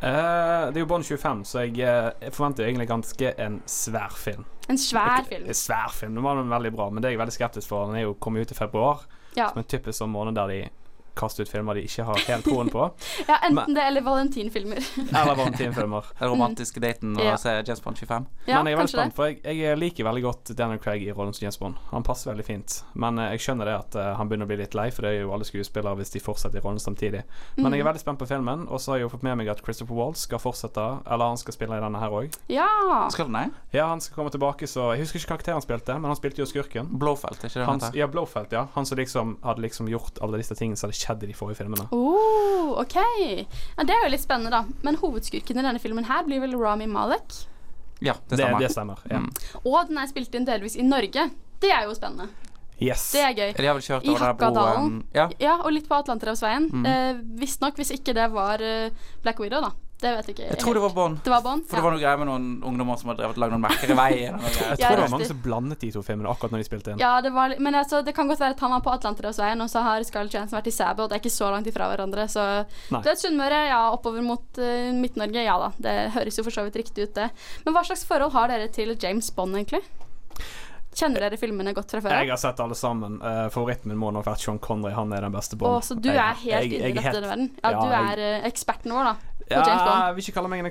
Speaker 6: Eh, det er jo Bond 25, så jeg, eh, jeg forventer jo egentlig ganske en svær film.
Speaker 5: En svær
Speaker 6: Ikke-
Speaker 5: film.
Speaker 6: En svær film. Den var den veldig bra, men det er jeg veldig skeptisk for. Den er jo kommet ut i februar,
Speaker 5: Ja.
Speaker 6: som en typisk sånn måned der de kaster ut filmer de ikke har helt troen på.
Speaker 5: ja, enten det eller valentinfilmer.
Speaker 6: Eller valentinfilmer.
Speaker 7: Den romantiske daten å
Speaker 5: Ja.
Speaker 7: se James Bond 25.
Speaker 5: Ja,
Speaker 6: men jeg er veldig
Speaker 5: kanskje det.
Speaker 6: spent, for jeg, jeg liker veldig godt Daniel Craig i rollen som James Bond. Han passer veldig fint. Men eh, jeg skjønner det at eh, han begynner å bli litt lei, for det er jo alle skuespillere hvis de fortsetter i rollen samtidig. Men
Speaker 5: Mhm.
Speaker 6: jeg er veldig spent på filmen, og så har jeg jo fått med meg at Christopher Waltz skal fortsette, eller han skal spille i denne her òg.
Speaker 5: Ja.
Speaker 7: Skal den det?
Speaker 6: Ja, han skal komme tilbake, så Jeg husker ikke karakteren han spilte, men han spilte jo skurken.
Speaker 7: Blowfelt, er ikke det den
Speaker 6: Han,
Speaker 7: heter?
Speaker 6: ja, Blowfelt, ja. Han som liksom hadde liksom gjort alle disse tingene som hadde skjedd i de forrige filmene.
Speaker 5: Oh, OK. Ja, det er jo litt spennende, da. Men hovedskurken i denne filmen her blir vel Rami Malek.
Speaker 7: Ja, det
Speaker 6: Det,
Speaker 7: stemmer.
Speaker 6: det stemmer. Ja.
Speaker 7: Mm.
Speaker 5: Og den er spilt inn delvis i Norge. Det er jo spennende.
Speaker 6: Yes.
Speaker 5: Det er gøy.
Speaker 7: De har vel kjørt
Speaker 5: I
Speaker 7: over den broen
Speaker 5: Hakadalen.
Speaker 7: ja.
Speaker 5: Ja, og litt på Atlanterhavsveien.
Speaker 7: Mm.
Speaker 5: Eh, Visstnok hvis ikke det var eh, Black Widow, da. Det vet jeg ikke.
Speaker 7: Jeg tror det var Bond.
Speaker 5: Det var Bond,
Speaker 7: For det var noe greier med noen ungdommer som hadde drevet lagd noen merker i veien. Og noe
Speaker 5: Ja,
Speaker 6: Jeg tror det
Speaker 5: riktig.
Speaker 6: var mange som blandet de to filmene akkurat når de spilte inn.
Speaker 5: Ja, det var, li- men altså, det kan godt være at han var på Atlanterhavsveien, og så har Scarlett Johansson vært i Sæbø, og det er ikke så langt ifra hverandre, så
Speaker 6: Nei.
Speaker 5: Du vet, Sunnmøre, ja, oppover mot eh, Midt-Norge, ja da. Det høres jo for så vidt riktig ut, det. Men hva slags forhold har dere til James Bond, egentlig? Kjenner dere filmene godt fra før?
Speaker 6: Jeg har sett alle sammen. Eh, favoritten min må nok være Sean Connery. Han er den beste
Speaker 5: Å,
Speaker 6: Bond.
Speaker 5: så du
Speaker 6: Jeg-
Speaker 5: er helt
Speaker 6: jeg-
Speaker 5: inne
Speaker 6: jeg
Speaker 5: i
Speaker 6: er helt-
Speaker 5: dette verden? Ja,
Speaker 6: Ja,
Speaker 5: du
Speaker 6: jeg-
Speaker 5: er eh, eksperten vår, da, på James
Speaker 6: Ja,
Speaker 5: Bond.
Speaker 6: jeg vil ikke kalle meg en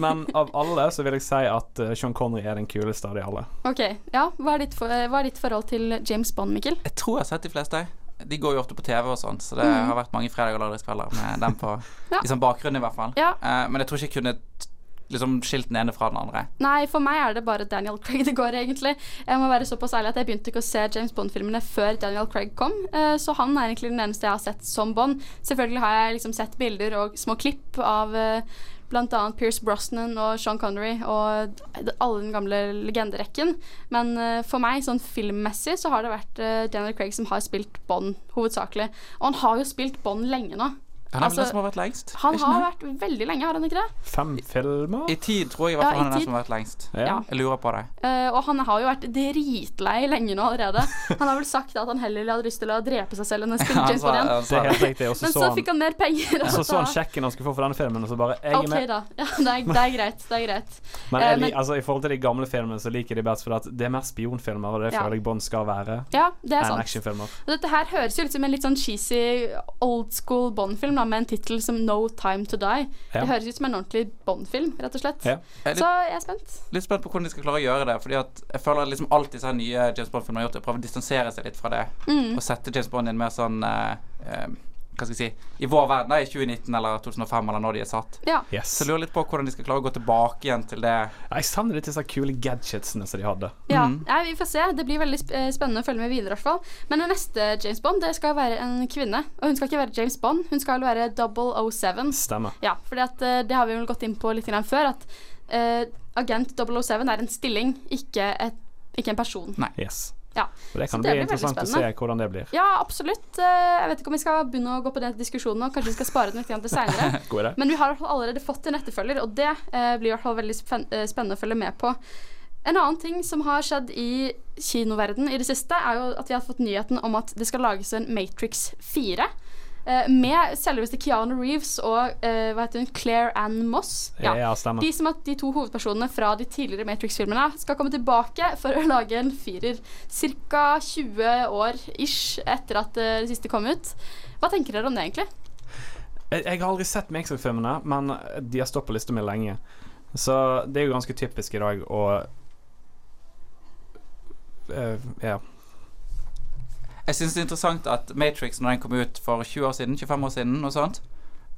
Speaker 6: men av alle så vil jeg si at eh, Sean Connery er den kuleste av de alle.
Speaker 5: OK. Ja, hva er ditt, for, eh, hva er ditt forhold til James Bond, Mikkel?
Speaker 7: Jeg tror jeg har sett de fleste. De går jo ofte på TV og sånn, så det har vært mange fredag- og lørdagskvelder med dem på
Speaker 5: Mm. Ja.
Speaker 7: i sånn bakgrunn, i hvert fall.
Speaker 5: Ja.
Speaker 7: Eh, men jeg tror ikke jeg kunne t- liksom skilt den ene fra den andre.
Speaker 5: Nei, for meg er det bare Daniel Craig det går, egentlig. Jeg må være såpass ærlig at jeg begynte ikke å se James Bond-filmene før Daniel Craig kom, eh, så han er egentlig den eneste jeg har sett som Bond. Selvfølgelig har jeg liksom sett bilder og små klipp av eh, blant annet Pierce Brosnan og Sean Connery og d- alle den gamle legenderekken. Men eh, for meg, sånn filmmessig, så har det vært eh, Daniel Craig som har spilt Bond hovedsakelig. Og han har jo spilt Bond lenge nå.
Speaker 7: Han er vel
Speaker 5: Altså,
Speaker 7: den som har vært lengst?
Speaker 5: Han
Speaker 7: ikke
Speaker 5: har
Speaker 7: det?
Speaker 5: vært veldig lenge, har han ikke det?
Speaker 6: Fem filmer?
Speaker 7: I tid tror jeg i hvert
Speaker 5: Ja,
Speaker 7: fall
Speaker 5: i
Speaker 7: han er den
Speaker 5: tid.
Speaker 7: som har vært lengst.
Speaker 5: Ja.
Speaker 7: Jeg lurer på det.
Speaker 5: Eh, og han har jo vært dritlei lenge nå allerede. Han har vel sagt at han heller hadde lyst til å drepe seg selv enn å spille
Speaker 7: Han
Speaker 5: James
Speaker 7: sa,
Speaker 5: Bond igjen.
Speaker 7: han
Speaker 6: Det
Speaker 7: sa
Speaker 6: er
Speaker 7: det.
Speaker 6: helt riktig. Og så
Speaker 5: Men
Speaker 6: så
Speaker 5: så
Speaker 6: han-
Speaker 5: fikk han mer penger.
Speaker 6: så
Speaker 5: og
Speaker 6: så han sjekken han skulle få for denne filmen, og så bare Jeg er
Speaker 5: OK,
Speaker 6: med.
Speaker 5: da. Ja, det, er, det er greit. Det er greit.
Speaker 6: Men,
Speaker 5: Eh,
Speaker 6: jeg,
Speaker 5: men-
Speaker 6: lik- altså, i forhold til de gamle filmene, så liker jeg de best fordi at det er mer spionfilmer, og det
Speaker 5: Ja.
Speaker 6: føler jeg Bond skal være.
Speaker 5: Ja, det er
Speaker 6: Enn
Speaker 5: sant.
Speaker 6: actionfilmer.
Speaker 5: Og dette her høres jo ut som en litt sånn cheesy old school Bond-film, da, med en tittel som No Time To Die.
Speaker 7: Ja.
Speaker 5: Det høres ut som en ordentlig Bond-film, rett og slett.
Speaker 7: Ja. Jeg er litt-
Speaker 5: Så jeg er spent.
Speaker 7: Litt spent på hvordan de skal klare å gjøre det. Fordi at jeg føler at liksom alt disse her nye James Bond-filmene har gjort, er å prøve å distansere seg litt fra det.
Speaker 5: Mm.
Speaker 7: Og sette James Bond i en mer sånn eh, eh, Hva skal jeg si I vår verden, da, i 2019 eller 2005, eller når de er satt.
Speaker 5: Ja.
Speaker 7: Så jeg lurer litt på hvordan de skal klare å gå tilbake igjen til det.
Speaker 6: Jeg savner litt disse kule gadgetsene som de hadde.
Speaker 5: Ja, nei, Vi får se. Det blir veldig sp- eh, spennende å følge med videre. i hvert fall Men den neste James Bond det skal være en kvinne. Og hun skal ikke være James Bond, hun skal være 007.
Speaker 6: Stemmer.
Speaker 5: Ja, fordi at eh, det har vi vel gått inn på litt grann før, at eh, agent 007 er en stilling, ikke, et, ikke en person.
Speaker 6: Yes.
Speaker 5: Ja.
Speaker 6: Og det
Speaker 5: Så
Speaker 6: kan
Speaker 5: det
Speaker 6: bli
Speaker 5: blir veldig
Speaker 6: interessant å se
Speaker 5: spennende.
Speaker 6: hvordan det blir.
Speaker 5: Ja, absolutt. Eh, Jeg vet ikke om vi skal begynne å gå på den diskusjonen nå. Kanskje vi skal spare den litt grann til seinere.
Speaker 6: God idé.
Speaker 5: Men vi har i hvert fall allerede fått en etterfølger, og det eh, blir i hvert fall veldig spen eh, spennende å følge med på. En annen ting som har skjedd i kinoverden i det siste, er jo at vi har fått nyheten om at det skal lages en Matrix 4. eh, Med selveste Keanu Reeves og eh, hva heter hun, Claire Ann Moss.
Speaker 6: Ja, stemmer.
Speaker 5: De som at de to hovedpersonene fra de tidligere Matrix-filmene skal komme tilbake for å lage en firer ca. 20 år ish etter at eh, det siste kom ut. Hå tenker dere om det, egentlig?
Speaker 6: Jeg, jeg har aldri sett Matrix-filmene, men de har stått på lista mi lenge. Så det er jo ganske typisk i dag å Eh, Ja.
Speaker 7: Jeg syns det er interessant at Matrix, når den kom ut for 20 år siden, 25 år siden, noe sånt,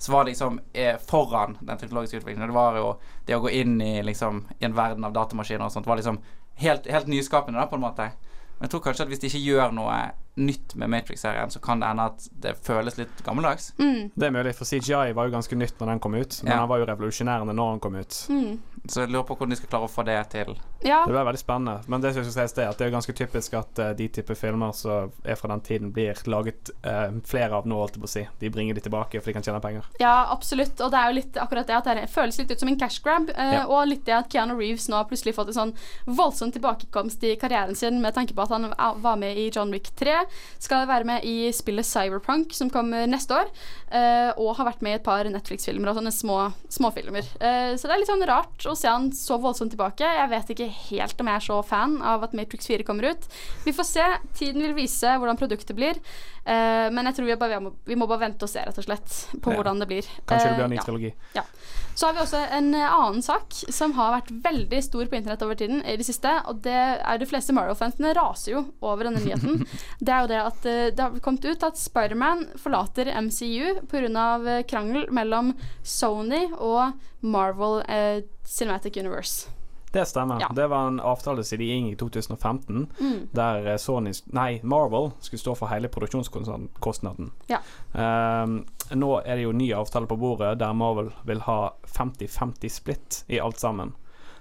Speaker 7: så var det liksom eh, foran den teknologiske utviklingen. Det var jo det å gå inn i liksom i en verden av datamaskiner og sånt, var liksom helt, helt nyskapende, da, på en måte. Men jeg tror kanskje at hvis de ikke gjør noe nytt med Matrix-serien, så kan det ende at det føles litt gammeldags.
Speaker 5: Mm.
Speaker 6: Det er mulig, for CGI var jo ganske nytt når den kom ut, men
Speaker 7: Ja.
Speaker 6: den var jo revolusjonerende når den kom ut.
Speaker 5: Mm.
Speaker 7: Så jeg lurer på hvordan de skal klare å få det til.
Speaker 5: Ja.
Speaker 6: Det ble veldig spennende. Men det som skal sies det, er at det er jo ganske typisk at eh, de type filmer som er fra den tiden, blir laget eh, flere av nå, holdt jeg på å si. De bringer de tilbake, for de kan tjene penger.
Speaker 5: Ja, absolutt. Og det er jo litt akkurat det at det føles litt ut som en cash grab. eh,
Speaker 6: Ja.
Speaker 5: Og litt det at Keanu Reeves nå har plutselig fått en sånn voldsom tilbakekomst i karrieren sin med tanke på at han er- var med i John Wick 3, skal være med i spillet Cyberpunk som kommer neste år, eh, og har vært med i et par Netflix-filmer og sånne små småfilmer. Eh, Så det er litt sånn rart å se han så voldsomt tilbake. Jeg vet ikke helt om jeg er så fan av at Matrix 4 kommer ut. Vi får se. Tiden vil vise hvordan produktet blir. Eh, Men jeg tror vi, bare, vi må- vi må bare vente og se, rett og slett, på
Speaker 6: Ja.
Speaker 5: hvordan det blir.
Speaker 6: Kanskje det blir en
Speaker 5: Eh,
Speaker 6: ny
Speaker 5: ja.
Speaker 6: trilogi.
Speaker 5: Ja. Så har vi også en eh, annen sak som har vært veldig stor på internett over tiden i det siste, og det er de fleste Marvel-fansene raser jo over denne nyheten. Det er jo det at eh, det har kommet ut at Spiderman forlater MCU pga. eh, krangel mellom Sony og Marvel eh, Cinematic Universe.
Speaker 6: Det stemmer.
Speaker 5: Ja.
Speaker 6: Det var en avtale siden de inngikk i 2015,
Speaker 5: Mm.
Speaker 6: der eh, Sony sk- Nei, Marvel skulle stå for hele produksjonskostnaden.
Speaker 5: Ja.
Speaker 6: Ehm, nå er det jo ny avtale på bordet der Marvel vil ha 50-50 splitt i alt sammen.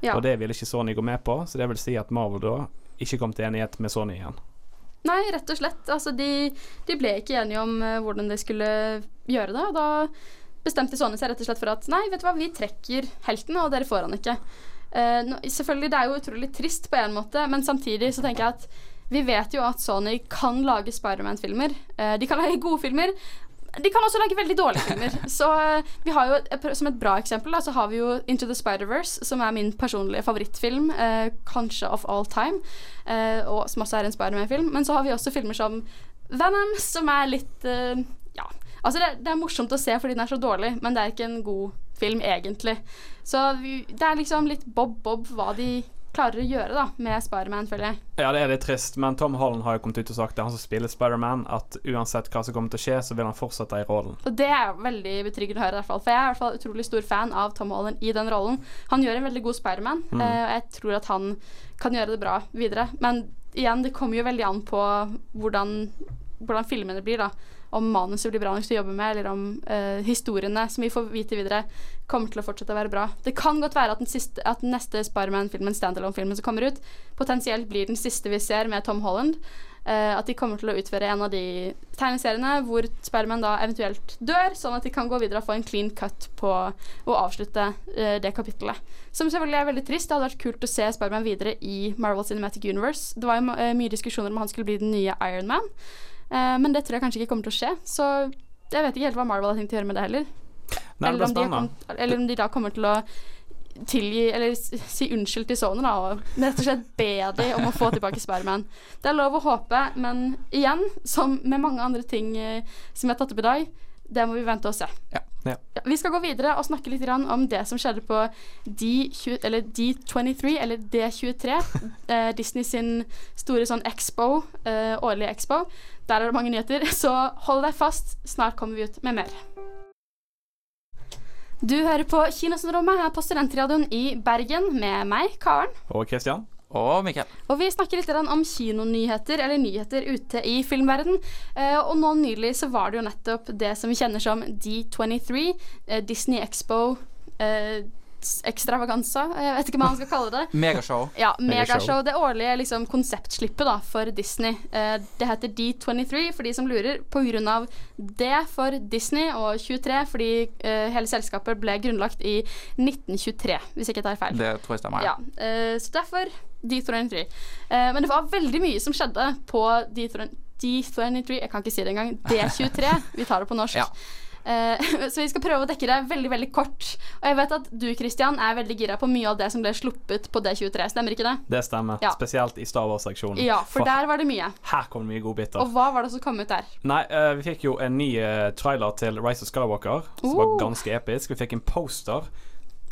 Speaker 5: Ja.
Speaker 6: Og det vil ikke Sony gå med på, så det vil si at Marvel da ikke kom til enighet med Sony igjen.
Speaker 5: Nei, rett og slett. Altså, de, de ble ikke enige om eh, hvordan de skulle gjøre det. Og da bestemte Sony seg rett og slett for at nei, vet du hva, vi trekker helten, og dere får han ikke. Eh, nå, selvfølgelig, det er jo utrolig trist på en måte, men samtidig så tenker jeg at vi vet jo at Sony kan lage Spiderman-filmer. Eh, de kan lage gode filmer. De kan også lage veldig dårlige filmer. Så eh, vi har jo, et- pr- Som et bra eksempel da, så har vi jo Into the Spider-Verse, som er min personlige favorittfilm, eh, kanskje of all time, eh, og som også er en Spiderman-film. Men så har vi også filmer som Venom, som er litt eh, Ja. Altså, det, det er morsomt å se fordi den er så dårlig, men det er ikke en god film, egentlig. Så vi, det er liksom litt bob-bob hva de klarer å gjøre da, med Spiderman, føler jeg.
Speaker 6: Ja, det er litt trist, men Tom Holland har jo kommet ut og sagt det, han som spiller Spiderman, at uansett hva som kommer til å skje, så vil han fortsette i rollen.
Speaker 5: Og det er veldig betryggende å høre, i hvert fall. For jeg er i hvert fall utrolig stor fan av Tom Holland i den rollen. Han gjør en veldig god Spiderman,
Speaker 6: Mm.
Speaker 5: eh, og jeg tror at han kan gjøre det bra videre. Men igjen, det kommer jo veldig an på hvordan, hvordan filmene blir, da. Om manuset blir bra nok til å jobbe med, eller om eh, historiene som vi får vite videre, kommer til å fortsette å være bra. Det kan godt være at den, siste, at den neste Spiderman-filmen, standalone-filmen som kommer ut, potensielt blir den siste vi ser med Tom Holland. Eh, at de kommer til å utføre en av de tegneseriene hvor Spiderman da eventuelt dør, sånn at de kan gå videre og få en clean cut på å avslutte eh, det kapittelet. Som selvfølgelig er veldig trist. Det hadde vært kult å se Spiderman videre i Marvel Cinematic Universe. Det var jo ma- eh, mye diskusjoner om han skulle bli den nye Iron Man, eh, men det tror jeg kanskje ikke kommer til å skje. Så jeg vet ikke helt hva Marvel har tenkt å gjøre med det heller.
Speaker 6: Nei, det
Speaker 5: eller, om de
Speaker 6: blir
Speaker 5: har
Speaker 6: spennende.
Speaker 5: kommet, eller om de da kommer til å tilgi Eller s- si unnskyld til Sony, da, og rett og slett be de om å få tilbake Spiderman. Det er lov å håpe, men igjen, som med mange andre ting eh, som vi har tatt opp i dag, Det må vi vente og se.
Speaker 6: Ja.
Speaker 5: Ja, vi skal gå videre og snakke litt grann om det som skjedde på D20, eller D23, eller D23. eh, Disney sin store sånn expo, eh, årlige expo. Der er det mange nyheter, så hold deg fast. Snart kommer vi ut med mer. Du hører på Kinosyndromet her på Studentradioen i Bergen med meg, Karen.
Speaker 6: Og Kristian?
Speaker 7: Og Mikkel.
Speaker 5: Og vi snakker litt grann om kinonyheter, eller nyheter ute i filmverden. Eh, og nå nylig så var det jo nettopp det som vi kjenner som D23, eh, Disney Expo eh, s- Extravaganza, jeg vet ikke hva man skal kalle det.
Speaker 7: Megashow.
Speaker 5: Ja,
Speaker 7: Megashow.
Speaker 5: Megashow. Det årlige liksom, konseptslippet da, for Disney. Eh, det heter D23 for de som lurer, pga. D for Disney og 23 fordi eh, hele selskapet ble grunnlagt i 1923, hvis ikke jeg tar feil.
Speaker 7: Det tror jeg stemmer.
Speaker 5: Ja, eh, så derfor D23. Eh, men det var veldig mye som skjedde på D23, D23 Jeg kan ikke si det engang. D23. Vi tar det på norsk.
Speaker 7: Ja.
Speaker 5: Eh, så vi skal prøve å dekke det veldig veldig kort. Og jeg vet at du Christian, er veldig gira på mye av det som ble sluppet på D23. Stemmer ikke det?
Speaker 6: Det stemmer.
Speaker 5: Ja.
Speaker 6: Spesielt i Star Wars-seksjonen.
Speaker 5: Ja, for der var det mye.
Speaker 6: her kom det mye godbiter.
Speaker 5: Og hva var det som kom ut der?
Speaker 6: Nei, eh, vi fikk jo en ny eh, trailer til Rise of Skywalker, som var
Speaker 5: Oh.
Speaker 6: ganske episk. Vi fikk en poster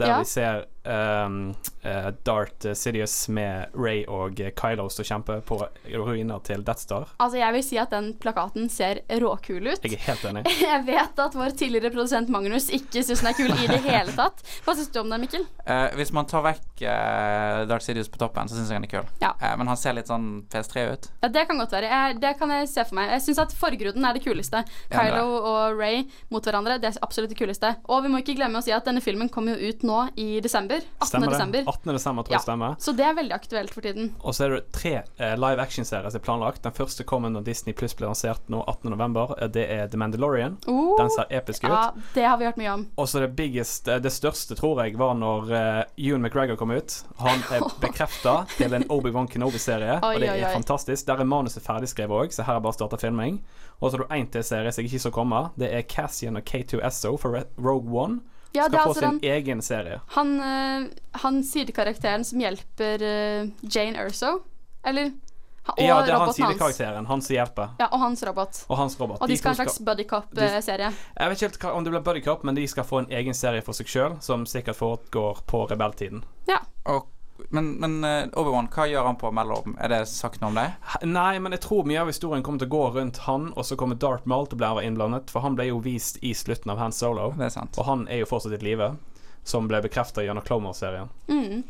Speaker 6: der
Speaker 5: Ja.
Speaker 6: vi ser ehm, eh, Dart eh, Sidious med Ray og eh, Kylo stå og kjempe på ruiner til Death Star.
Speaker 5: Altså, Jeg vil si at den plakaten ser råkul ut.
Speaker 6: Jeg er helt enig.
Speaker 5: Jeg vet at vår tidligere produsent Magnus ikke syns den er kul i det hele tatt. Hva syns du om den, Mikkel?
Speaker 7: Eh, hvis man tar vekk eh, Dark Sidious på toppen, så syns jeg han er kul.
Speaker 5: Ja.
Speaker 7: Eh, men han ser litt sånn PS3 ut.
Speaker 5: Ja, Det kan godt være. Jeg, det kan jeg se for meg. Jeg syns at forgruden er det kuleste.
Speaker 7: Ja, det er.
Speaker 5: Kylo og Ray mot hverandre, det er absolutt det kuleste. Og vi må ikke glemme å si at denne filmen kom jo ut nå i desember. 18.
Speaker 6: Stemmer det?
Speaker 5: desember.
Speaker 6: 18. desember, tror jeg stemmer.
Speaker 5: Så det er veldig aktuelt for tiden.
Speaker 6: Og så er det tre eh, live action-serier som er planlagt. Den første kommer når Disney Pluss blir lansert nå 18.11. Det er The Mandalorian.
Speaker 5: Oh,
Speaker 6: Den ser episk ut.
Speaker 5: ja, det har vi hørt mye om.
Speaker 6: Og så det biggest, eh, det største, tror jeg, var når eh, Ewan McGregor kom ut. Han er bekrefta til en Obi-Wan Kenobi-serie,
Speaker 5: Oi,
Speaker 6: og det
Speaker 5: oi,
Speaker 6: er
Speaker 5: oi.
Speaker 6: fantastisk. Der er manuset ferdigskrevet òg, så her er bare å starte filming. Og så har du én til serie som jeg ikke så komme. Det er Cassian og K2SO for Re- Rogue One.
Speaker 5: Ja, det
Speaker 6: Skal
Speaker 5: er
Speaker 6: få
Speaker 5: altså
Speaker 6: sin
Speaker 5: den,
Speaker 6: egen serie.
Speaker 5: han, øh, han sidekarakteren som hjelper øh, Jane Erso, eller han- Og
Speaker 6: Ja, det er han
Speaker 5: roboten hans.
Speaker 6: sidekarakteren, han som hjelper.
Speaker 5: Ja, og hans robot.
Speaker 6: Og hans robot.
Speaker 5: Og de skal ha
Speaker 6: to
Speaker 5: en slags eh, buddycop-serie.
Speaker 6: Jeg vet ikke helt hva- om det blir buddy cop, men de skal få en egen serie for seg sjøl, som sikkert foregår på rebelltiden.
Speaker 5: Ja.
Speaker 7: Og, men men eh, Obi-Wan, hva gjør han på mellom? Er det sagt noe om det?
Speaker 6: H- Nei, men jeg tror mye av historien kommer til å gå rundt han, og så kommer Darth Maul til å bli innblandet, for han ble jo vist i slutten av Han Solo,
Speaker 7: Det er sant.
Speaker 6: og han er jo fortsatt i live, som ble bekrefta gjennom Clomer-serien.
Speaker 5: Mm.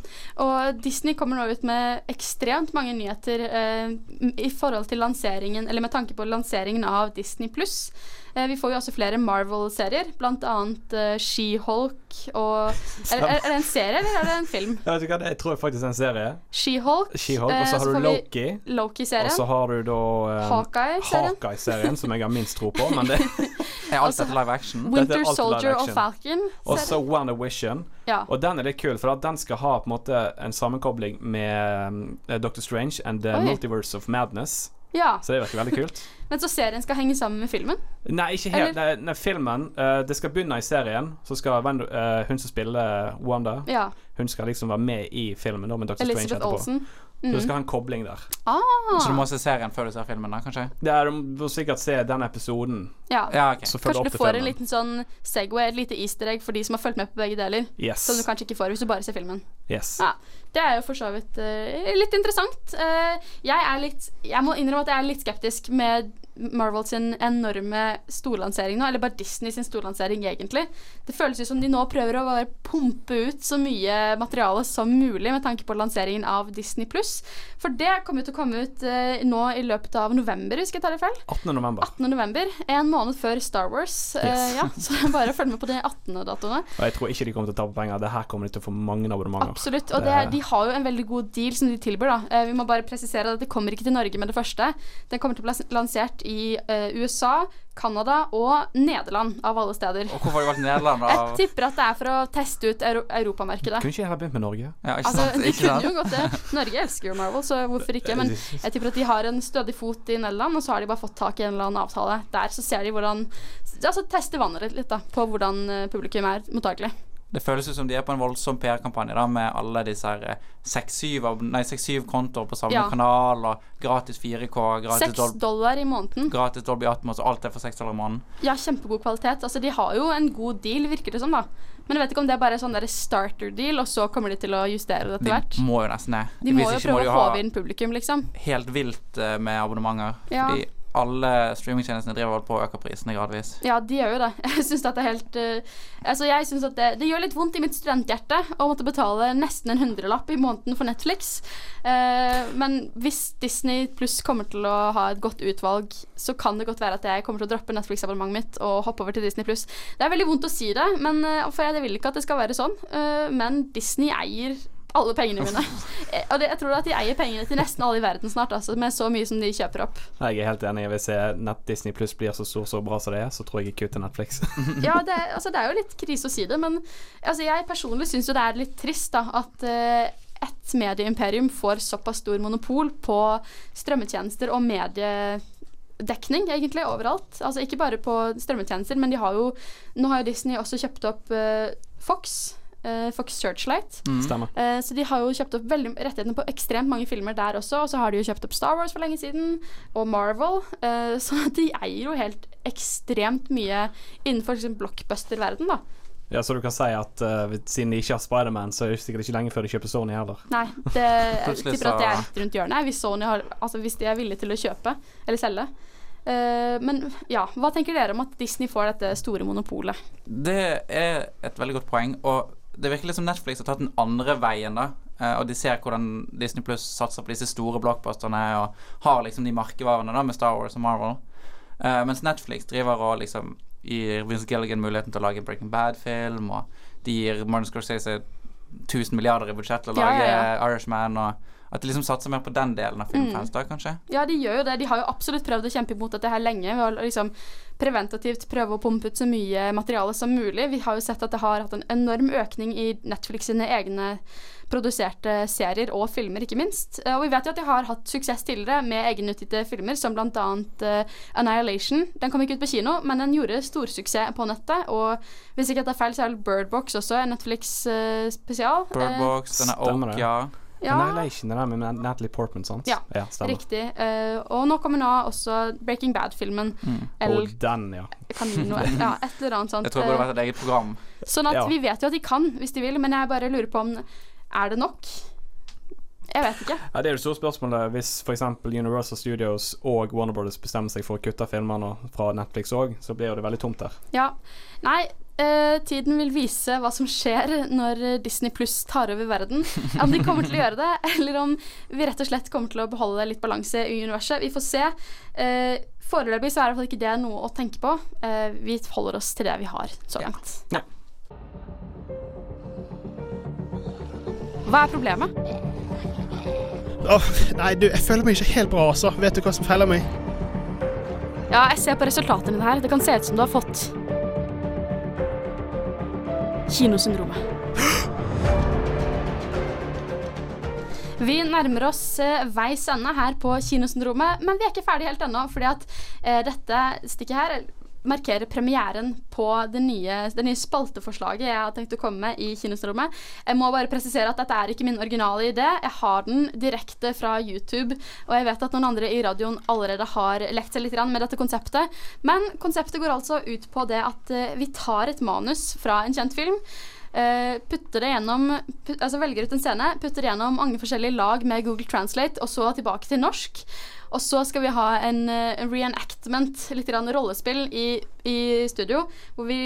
Speaker 5: Og Disney kommer nå ut med ekstremt mange nyheter eh, i forhold til lanseringen, eller med tanke på lanseringen av Disney pluss. Eh, vi får jo også flere Marvel-serier, bl.a. Eh, She-Hulk og er, er, er det en serie, eller er det en film?
Speaker 6: Jeg vet ikke hva, det tror jeg faktisk er en serie.
Speaker 5: She-Hulk.
Speaker 6: She-Hulk, og
Speaker 5: eh,
Speaker 6: så har
Speaker 5: får
Speaker 6: du
Speaker 5: vi
Speaker 6: Loki, og så
Speaker 5: Loki-serien.
Speaker 6: har du da eh,
Speaker 5: Hawkeye-serien.
Speaker 6: Hawkeye-serien, som jeg har minst tro på, men det
Speaker 7: Er
Speaker 5: Altså,
Speaker 7: alt dette live action?
Speaker 6: Dette er
Speaker 5: Winter
Speaker 6: alt live
Speaker 5: Soldier og
Speaker 6: action.
Speaker 5: Falcon.
Speaker 6: Og så Wonder Vision.
Speaker 5: Ja.
Speaker 6: Og den er litt kul, for at den skal ha på en måte en sammenkobling med eh, Doctor Strange and the
Speaker 5: Oi.
Speaker 6: Multiverse of Madness.
Speaker 5: ja.
Speaker 6: Så det virker veldig kult.
Speaker 5: Men så serien skal henge sammen med filmen.
Speaker 6: Nei, ikke helt. Nei, nei, filmen eh, Det skal begynne i serien. Så skal Wend- eh, hun som spiller Wanda,
Speaker 5: Ja.
Speaker 6: Hun skal liksom være med i filmen da, med Dr. Strange
Speaker 5: Elizabeth
Speaker 6: etterpå.
Speaker 5: Olsen. Mhm.
Speaker 6: Så du skal ha en kobling der.
Speaker 5: Ah.
Speaker 7: Så du må se serien før du ser filmen, da, kanskje?
Speaker 6: Det er, du må sikkert se den episoden
Speaker 5: Ah! Ja.
Speaker 7: Ja, ok.
Speaker 6: som følger
Speaker 5: Kanskje
Speaker 6: opp
Speaker 5: du
Speaker 6: til
Speaker 5: får en
Speaker 6: filmen.
Speaker 5: liten sånn Segway, et lite easter egg for de som har fulgt med på begge deler.
Speaker 6: Yes.
Speaker 5: Som du kanskje ikke får hvis du bare ser filmen.
Speaker 6: yes.
Speaker 5: Ja, Det er jo for så vidt eh, litt interessant. Eh, jeg, er litt, jeg må innrømme at jeg er litt skeptisk med Marvel sin enorme storlansering nå, eller bare Disney sin storlansering, egentlig. Det føles jo som de nå prøver å bare pumpe ut så mye materiale som mulig med tanke på lanseringen av Disney pluss. For det kommer jo til å komme ut eh, nå i løpet av november, hvis ikke jeg tar det feil.
Speaker 6: 18. november.
Speaker 5: 18. november, en måned før Star Wars. Eh,
Speaker 6: Yes.
Speaker 5: ja, så bare følg med på de 18. datoene.
Speaker 6: Og jeg tror ikke de kommer til å tape penger. Det her kommer de til å få mange abonnementer.
Speaker 5: Absolutt. Og det,
Speaker 6: Det-
Speaker 5: de har jo en veldig god deal som de tilbyr, da. Eh, vi må bare presisere at det kommer ikke til Norge med det første. Den kommer til å bli lans- lansert i eh, USA, Canada og Nederland, av alle steder.
Speaker 7: Og hvorfor har de valgt Nederland?
Speaker 5: Jeg
Speaker 7: Av...
Speaker 5: tipper at det er for å teste ut euro europamarkedet.
Speaker 6: Kunne ikke jeg ha begynt med Norge?
Speaker 7: Ja, ikke
Speaker 5: Altså,
Speaker 7: sant?
Speaker 5: de
Speaker 7: Ikke
Speaker 5: kunne
Speaker 7: sant?
Speaker 5: jo godt det. Norge elsker jo Marvel, så hvorfor ikke? Men jeg tipper at de har en stødig fot i Nederland, og så har de bare fått tak i en eller annen avtale der. Så ser de hvordan Altså teste vannet litt, da, på hvordan eh, publikum er mottakelig.
Speaker 7: Det føles ut som de er på en voldsom PR-kampanje da med alle disse her eh, 6-7 ab- Nei, 6-7 kontoer på samme
Speaker 5: Ja.
Speaker 7: kanal, og gratis 4K, gratis,
Speaker 5: Seks
Speaker 7: Dol
Speaker 5: dollar i måneden.
Speaker 7: gratis Dolby Atmos, og alt er for 6 dollar i måneden.
Speaker 5: Ja, kjempegod kvalitet. Altså, de har jo en god deal, virker det som, da. Men jeg vet ikke om det er bare sånn der starter deal, og så kommer de til å justere det etter hvert.
Speaker 7: De må jo nesten det.
Speaker 5: De må
Speaker 7: Hvis
Speaker 5: jo
Speaker 7: ikke
Speaker 5: prøve
Speaker 7: de
Speaker 5: å
Speaker 7: ha
Speaker 5: håve inn publikum, liksom.
Speaker 7: helt vilt eh, med abonnementer.
Speaker 5: Ja.
Speaker 7: Fordi alle streamingtjenestene driver vel på å øke prisene gradvis.
Speaker 5: Ja, de gjør jo det. Jeg syns at det er helt eh, Altså, jeg synes at det, det gjør litt vondt i mitt studenthjerte å måtte betale nesten en hundrelapp i måneden for Netflix. Eh, men hvis Disney pluss kommer til å ha et godt utvalg, så kan det godt være at jeg kommer til å droppe Netflix-abonnementet mitt og hoppe over til Disney pluss. Det er veldig vondt å si det, men, eh, for jeg vil ikke at det skal være sånn. Eh, men Disney eier alle pengene mine. Eh, Og det, jeg tror at de eier pengene til nesten alle i verden snart, altså, med så mye som de kjøper opp.
Speaker 6: Jeg er helt enig. Hvis jeg- Nett Disney Pluss blir så stor så bra som det er, så tror jeg ikke ut til Netflix.
Speaker 5: Ja, det, er- altså, det er jo litt krise å si det, men altså, jeg personlig syns jo det er litt trist da, at eh, ett medieimperium får såpass stor monopol på strømmetjenester og mediedekning, egentlig, overalt. Altså ikke bare på strømmetjenester, men de har jo Nå har jo Disney også kjøpt opp eh, Fox. eh, Fox Searchlight.
Speaker 6: Mm. Stemmer.
Speaker 5: Eh, så de har jo kjøpt opp veldig, rettighetene på ekstremt mange filmer der også. Og så har de jo kjøpt opp Star Wars for lenge siden, og Marvel. eh, så de eier jo helt ekstremt mye innenfor liksom, blockbuster-verden, da.
Speaker 6: Ja, Så du kan si at eh, siden de ikke har Spiderman, så er det sikkert ikke lenge før de kjøper Sony heller.
Speaker 5: Nei, det jeg
Speaker 6: Plutselig
Speaker 5: tipper at det
Speaker 6: så-
Speaker 5: er rett rundt hjørnet hvis Sony har Altså hvis de er villige til å kjøpe eller selge. Eh, men ja, hva tenker dere om at Disney får dette store monopolet?
Speaker 7: Det er et veldig godt poeng, og det virker litt som Netflix har tatt den andre veien, da. Eh, Og de ser hvordan Disney Pluss satser på disse store blockbusterne og har liksom de merkevarene da med Star Wars og Marvel. Eh, mens Netflix driver og liksom gir Vince Gilligan muligheten til å lage en Breaking Bad-film, og de gir Martin Scorsese 1000 milliarder i budsjett til å
Speaker 5: Ja,
Speaker 7: lage
Speaker 5: ja, ja. Mm.
Speaker 7: Irishman, og at de liksom satser mer på den delen av filmfans, da, kanskje.
Speaker 5: Ja, de gjør jo det. De har jo absolutt prøvd å kjempe imot dette her lenge ved å liksom preventativt prøve å pumpe ut så mye materiale som mulig. Vi har jo sett at det har hatt en enorm økning i Netflix sine egne produserte serier og filmer, ikke minst. Eh, Og vi vet jo at de har hatt suksess tidligere med egenutgitte filmer, som bl.a. Uh, Annihilation. Den kom ikke ut på kino, men den gjorde storsuksess på nettet. Og hvis ikke jeg tar feil, så er vel Bird Box også en eh, Netflix-spesial.
Speaker 7: Bird Box, denne
Speaker 6: Stemmer
Speaker 7: Oak,
Speaker 6: det.
Speaker 7: ja.
Speaker 5: Ja.
Speaker 6: Annihilation, det der med Natalie Portman, sant?
Speaker 5: Ja,
Speaker 6: stemmer.
Speaker 5: riktig. Eh, og nå kommer nå også Breaking Bad-filmen. El
Speaker 6: Og den, ja.
Speaker 5: Camino, ja, et eller annet sånt.
Speaker 7: Jeg tror det burde vært et eget program.
Speaker 5: Sånn at
Speaker 6: Ja.
Speaker 5: vi vet jo at de kan hvis de vil, men jeg bare lurer på om Er det nok? Jeg vet ikke.
Speaker 6: Ja, Det er jo det store spørsmålet. Hvis f.eks. Universal Studios og Warner Brothers bestemmer seg for å kutte filmene fra Netflix òg, så blir jo det veldig tomt der.
Speaker 5: Ja. Nei, eh, tiden vil vise hva som skjer når eh, Disney pluss tar over verden. Om de kommer til å gjøre det, eller om vi rett og slett kommer til å beholde litt balanse i universet. Vi får se. Eh, foreløpig så er i hvert fall ikke det noe å tenke på. Eh, vi holder oss til det vi har så langt.
Speaker 6: Ja.
Speaker 5: Hva er problemet?
Speaker 11: Åh, nei, du, jeg føler meg ikke helt bra, altså. Vet du hva som feiler meg?
Speaker 5: Ja, jeg ser på resultatene dine her. Det kan se ut som du har fått Kinosyndromet. Vi nærmer oss eh, veis ende her på Kinosyndromet, men vi er ikke ferdig helt ennå, fordi at eh, dette stikket her markerer premieren på det nye, det nye spalteforslaget jeg har tenkt å komme med i Kinosyndromet. Jeg må bare presisere at dette er ikke min originale idé. Jeg har den direkte fra YouTube, og jeg vet at noen andre i radioen allerede har lekt seg litt grann med dette konseptet. Men konseptet går altså ut på det at eh, vi tar et manus fra en kjent film. eh, putter det gjennom pu- Altså velger ut en scene, putter det gjennom mange forskjellige lag med Google Translate, og så tilbake til norsk. Og så skal vi ha en eh, reenactment, litt grann rollespill, i, i studio, hvor vi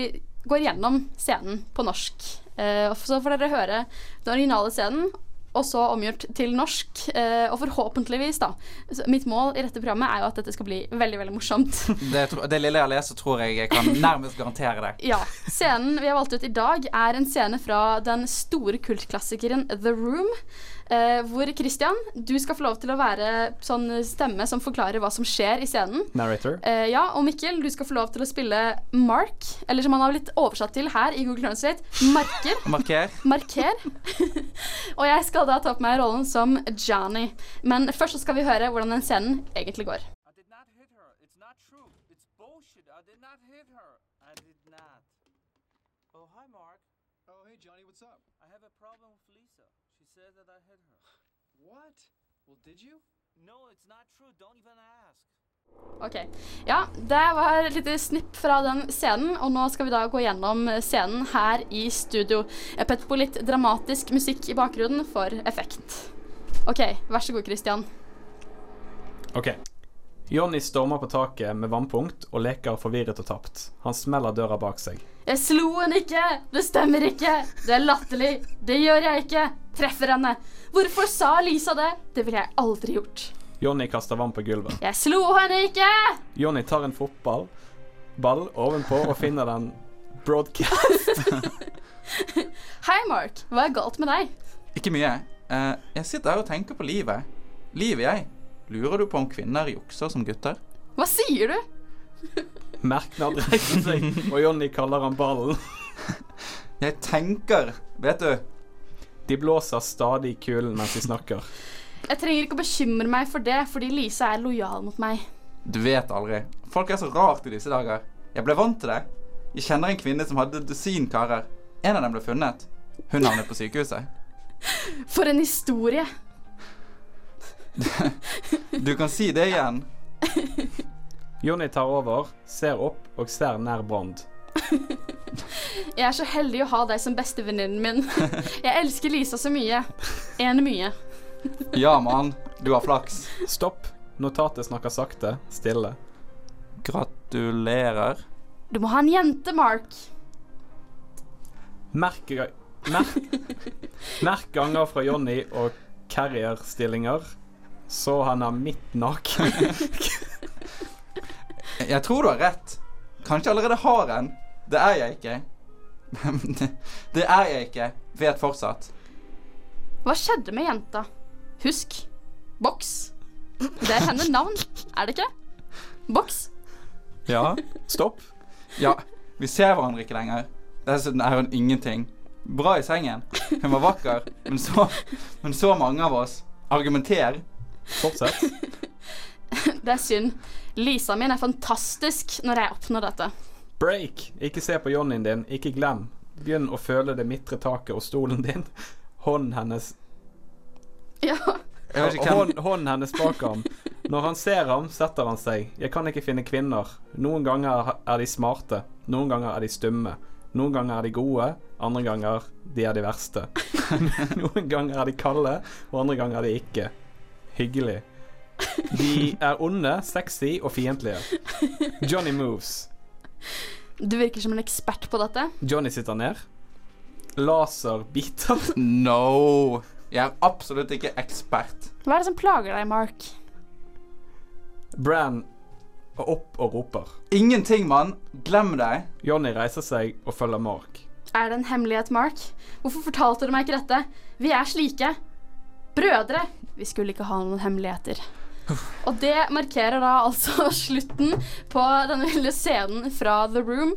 Speaker 5: går gjennom scenen på norsk. Eh, og så får dere høre den originale scenen, og så omgjort til norsk. eh, og forhåpentligvis, da. så Mitt mål i dette programmet er jo at dette skal bli veldig, veldig morsomt.
Speaker 7: Det, tro- det lille jeg leser, tror jeg jeg kan nærmest garantere det.
Speaker 5: Ja. Scenen vi har valgt ut i dag, er en scene fra den store kultklassikeren The Room. Eh, hvor Christian, du skal få lov til å være sånn stemme som forklarer hva som skjer i scenen.
Speaker 6: Narrator.
Speaker 5: Eh, ja, og Mikkel, du skal få lov til å spille Mark, eller som han har blitt oversatt til her i Google Translate, Marker.
Speaker 7: Marker.
Speaker 5: Marker. og jeg skal da ta på meg rollen som Johnny. Men først så skal vi høre hvordan den scenen egentlig går.
Speaker 12: Oh, hi, Mark. Oh, hey, Hey, Johnny, what's up?
Speaker 13: I have a problem with Lisa. She said that I hit her.
Speaker 12: What? Well, did you?
Speaker 13: No, it's not true. Don't even ask.
Speaker 5: Ok, ja, det var et lite snipp fra den scenen, og nå skal vi da gå gjennom scenen her i studio. Jeg petter på litt dramatisk musikk i bakgrunnen for effekt. Ok, vær så god, Christian.
Speaker 6: OK. Johnny stormer på taket med vannpunkt og leker forvirret og tapt. Han smeller døra bak seg.
Speaker 5: Jeg slo henne ikke! Det stemmer ikke! Det er latterlig! Det gjør jeg ikke! Treffer henne! Hvorfor sa Lisa det? Det ville jeg aldri gjort.
Speaker 6: Johnny kaster vann på gulvet.
Speaker 5: Jeg slo henne ikke!
Speaker 6: Johnny tar en fotball ball ovenpå og finner den broadcast.
Speaker 5: Hei, Mark. Hva er galt med deg?
Speaker 7: Ikke mye. Eh, jeg sitter her og tenker på livet. Livet, jeg. Lurer du på om kvinner jukser som gutter?
Speaker 5: Hva sier du?
Speaker 6: Merknad reiser seg, og Johnny kaller han ballen.
Speaker 7: Jeg tenker, vet du.
Speaker 6: De blåser stadig i kulen mens de snakker.
Speaker 5: Jeg trenger ikke å bekymre meg for det, fordi Lisa er lojal mot meg.
Speaker 7: Du vet aldri. Folk er så rart i disse dager. Jeg ble vant til det. Jeg kjenner en kvinne som hadde et dusin karer. En av dem ble funnet. Hun havnet på sykehuset.
Speaker 5: For en historie.
Speaker 7: Du kan si det igjen.
Speaker 6: Jonny tar over, ser opp og ser nær Brand.
Speaker 5: Jeg er så heldig å ha deg som bestevenninnen min. Jeg elsker Lisa så mye. En mye.
Speaker 7: Ja, mann. Du har flaks.
Speaker 6: Stopp. Notatet snakker sakte, stille.
Speaker 7: Gratulerer.
Speaker 5: Du må ha en jente, Mark.
Speaker 6: Merk, merk, merk ganger fra Jonny og carrier-stillinger, så han er midt naken.
Speaker 7: Jeg tror du har rett. Kanskje jeg allerede har en. Det er jeg ikke. det, det er jeg ikke. Vet fortsatt.
Speaker 5: Hva skjedde med jenta? Husk boks. Det er hennes navn, er det ikke? Boks.
Speaker 7: Ja. Stopp. Ja. Vi ser hverandre ikke lenger. Dessuten er hun ingenting. Bra i sengen. Hun var vakker, men så, men så mange av oss. Argumenter.
Speaker 6: Fortsett.
Speaker 5: Det er synd. Lisa min er fantastisk når jeg oppnår dette.
Speaker 6: Break. Ikke se på Johnnyen din. Ikke glem. Begynn å føle det midtre taket og stolen din. Hånden hennes
Speaker 5: Ja.
Speaker 6: Hånden hånd hennes bak ham. Når han ser ham, setter han seg. Jeg kan ikke finne kvinner. Noen ganger er de smarte. Noen ganger er de stumme. Noen ganger er de gode, andre ganger de er de verste. Noen ganger er de kalde, og andre ganger er de ikke. Hyggelig. De er onde, sexy og fiendtlige. Johnny moves.
Speaker 5: Du virker som en ekspert på dette.
Speaker 6: Johnny sitter ned. Laserbiter.
Speaker 7: No! Jeg er absolutt ikke ekspert.
Speaker 5: Hva er det som plager deg, Mark?
Speaker 6: Bran er opp og roper.
Speaker 7: Ingenting, mann. Glem det.
Speaker 6: Johnny reiser seg og følger Mark.
Speaker 5: Er det en hemmelighet, Mark? Hvorfor fortalte du meg ikke dette? Vi er slike. Brødre. Vi skulle ikke ha noen hemmeligheter. Og det markerer da altså slutten på denne lille scenen fra The Room.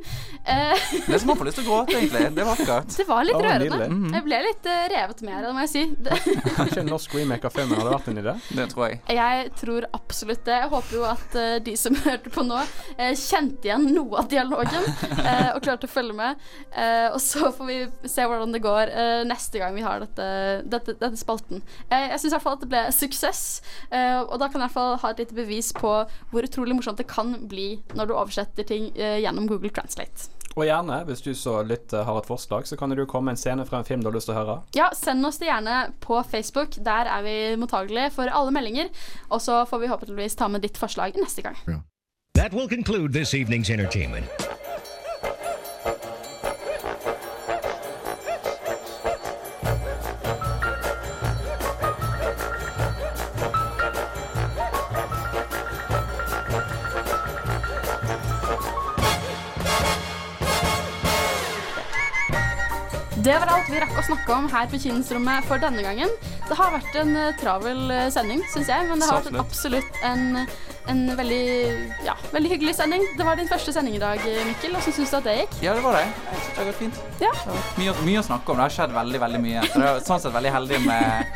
Speaker 7: Eh, det er som man får lyst til å gråte, egentlig. Det var akkurat.
Speaker 5: Det var litt rørende. Mm. Jeg ble litt uh, revet med det, må jeg si.
Speaker 6: Kanskje en norsk remake av filmen hadde vært en idé?
Speaker 7: Det tror jeg.
Speaker 5: Jeg tror absolutt det. Jeg håper jo at uh, de som hørte på nå, uh, kjente igjen noe av dialogen eh, og klarte å følge med. Eh, og så får vi se hvordan det går eh, neste gang vi har dette, dette, dette spalten. jeg syns i hvert fall at det ble suksess, eh, og da kan kan i hvert fall ha et lite bevis på hvor utrolig morsomt det kan bli når du oversetter ting eh, gjennom Google Translate.
Speaker 6: Og gjerne, hvis du så lytter har et forslag, så kan du komme en scene fra en film du har lyst til å høre.
Speaker 5: Ja, send oss det gjerne på Facebook. Der er vi mottagelige for alle meldinger. Og så får vi håpeligvis ta med ditt forslag neste gang. Ja. That will conclude this evening's entertainment. Det var alt vi rakk å snakke om her på Kinosrommet for eh, denne gangen. Det har vært en travel sending, syns jeg, men det har vært absolutt en en veldig, ja, veldig hyggelig sending. Det var din første sending i dag, eh, Mikkel. Hvordan syns du at det gikk?
Speaker 7: Ja, det var det. Jeg synes det har gått fint.
Speaker 5: Ja.
Speaker 7: Mye, å- mye å snakke om. Det har skjedd veldig veldig mye. Så det er sånn sett veldig heldig med,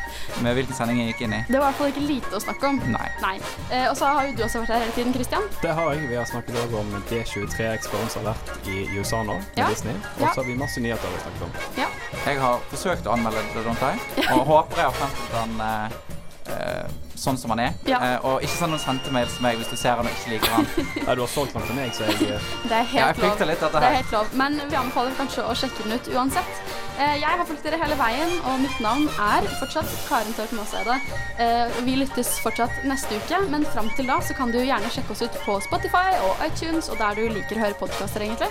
Speaker 7: med hvilken sending jeg gikk inn i.
Speaker 5: Det var i hvert fall ikke lite å snakke om.
Speaker 7: Nei.
Speaker 5: Eh, og så har jo du også vært her hele tiden, Christian.
Speaker 6: Det har jeg. Vi har snakket også om D23 Experience har vært i USA nå, med
Speaker 5: Ja.
Speaker 6: Disney. Og
Speaker 5: Ja.
Speaker 6: så har vi masse nyheter vi snakket om.
Speaker 5: Ja.
Speaker 7: Jeg har forsøkt å anmelde The Don't Die, og håper jeg har fremstilt den eh, eh, sånn som han er.
Speaker 5: Ja.
Speaker 7: Eh, og ikke send noen sendtemail til meg hvis du ser han og ikke liker han. Nei, du har solgt den til meg, så
Speaker 6: eh,
Speaker 7: jeg
Speaker 5: Det er
Speaker 7: Ja,
Speaker 5: helt,
Speaker 7: jeg frykter
Speaker 5: lov.
Speaker 7: litt dette
Speaker 5: det er
Speaker 7: her.
Speaker 5: helt lov. Men vi anbefaler kanskje å sjekke den ut uansett. Eh, Jeg har fulgt dere hele veien, og mitt navn er fortsatt Karin Tørp Maaseide. Eh, Vi lyttes fortsatt neste uke, men fram til da så kan du jo gjerne sjekke oss ut på Spotify og iTunes og der du liker å høre podkaster, egentlig.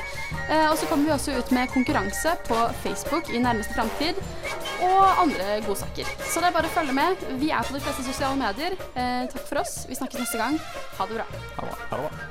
Speaker 5: Eh, Og så kommer vi også ut med konkurranse på Facebook i nærmeste framtid, og andre godsaker. Så det er bare å følge med. Vi er på de fleste sosiale medier. Eh, Takk for oss. Vi snakkes neste gang. Ha det bra.
Speaker 7: Ha det bra.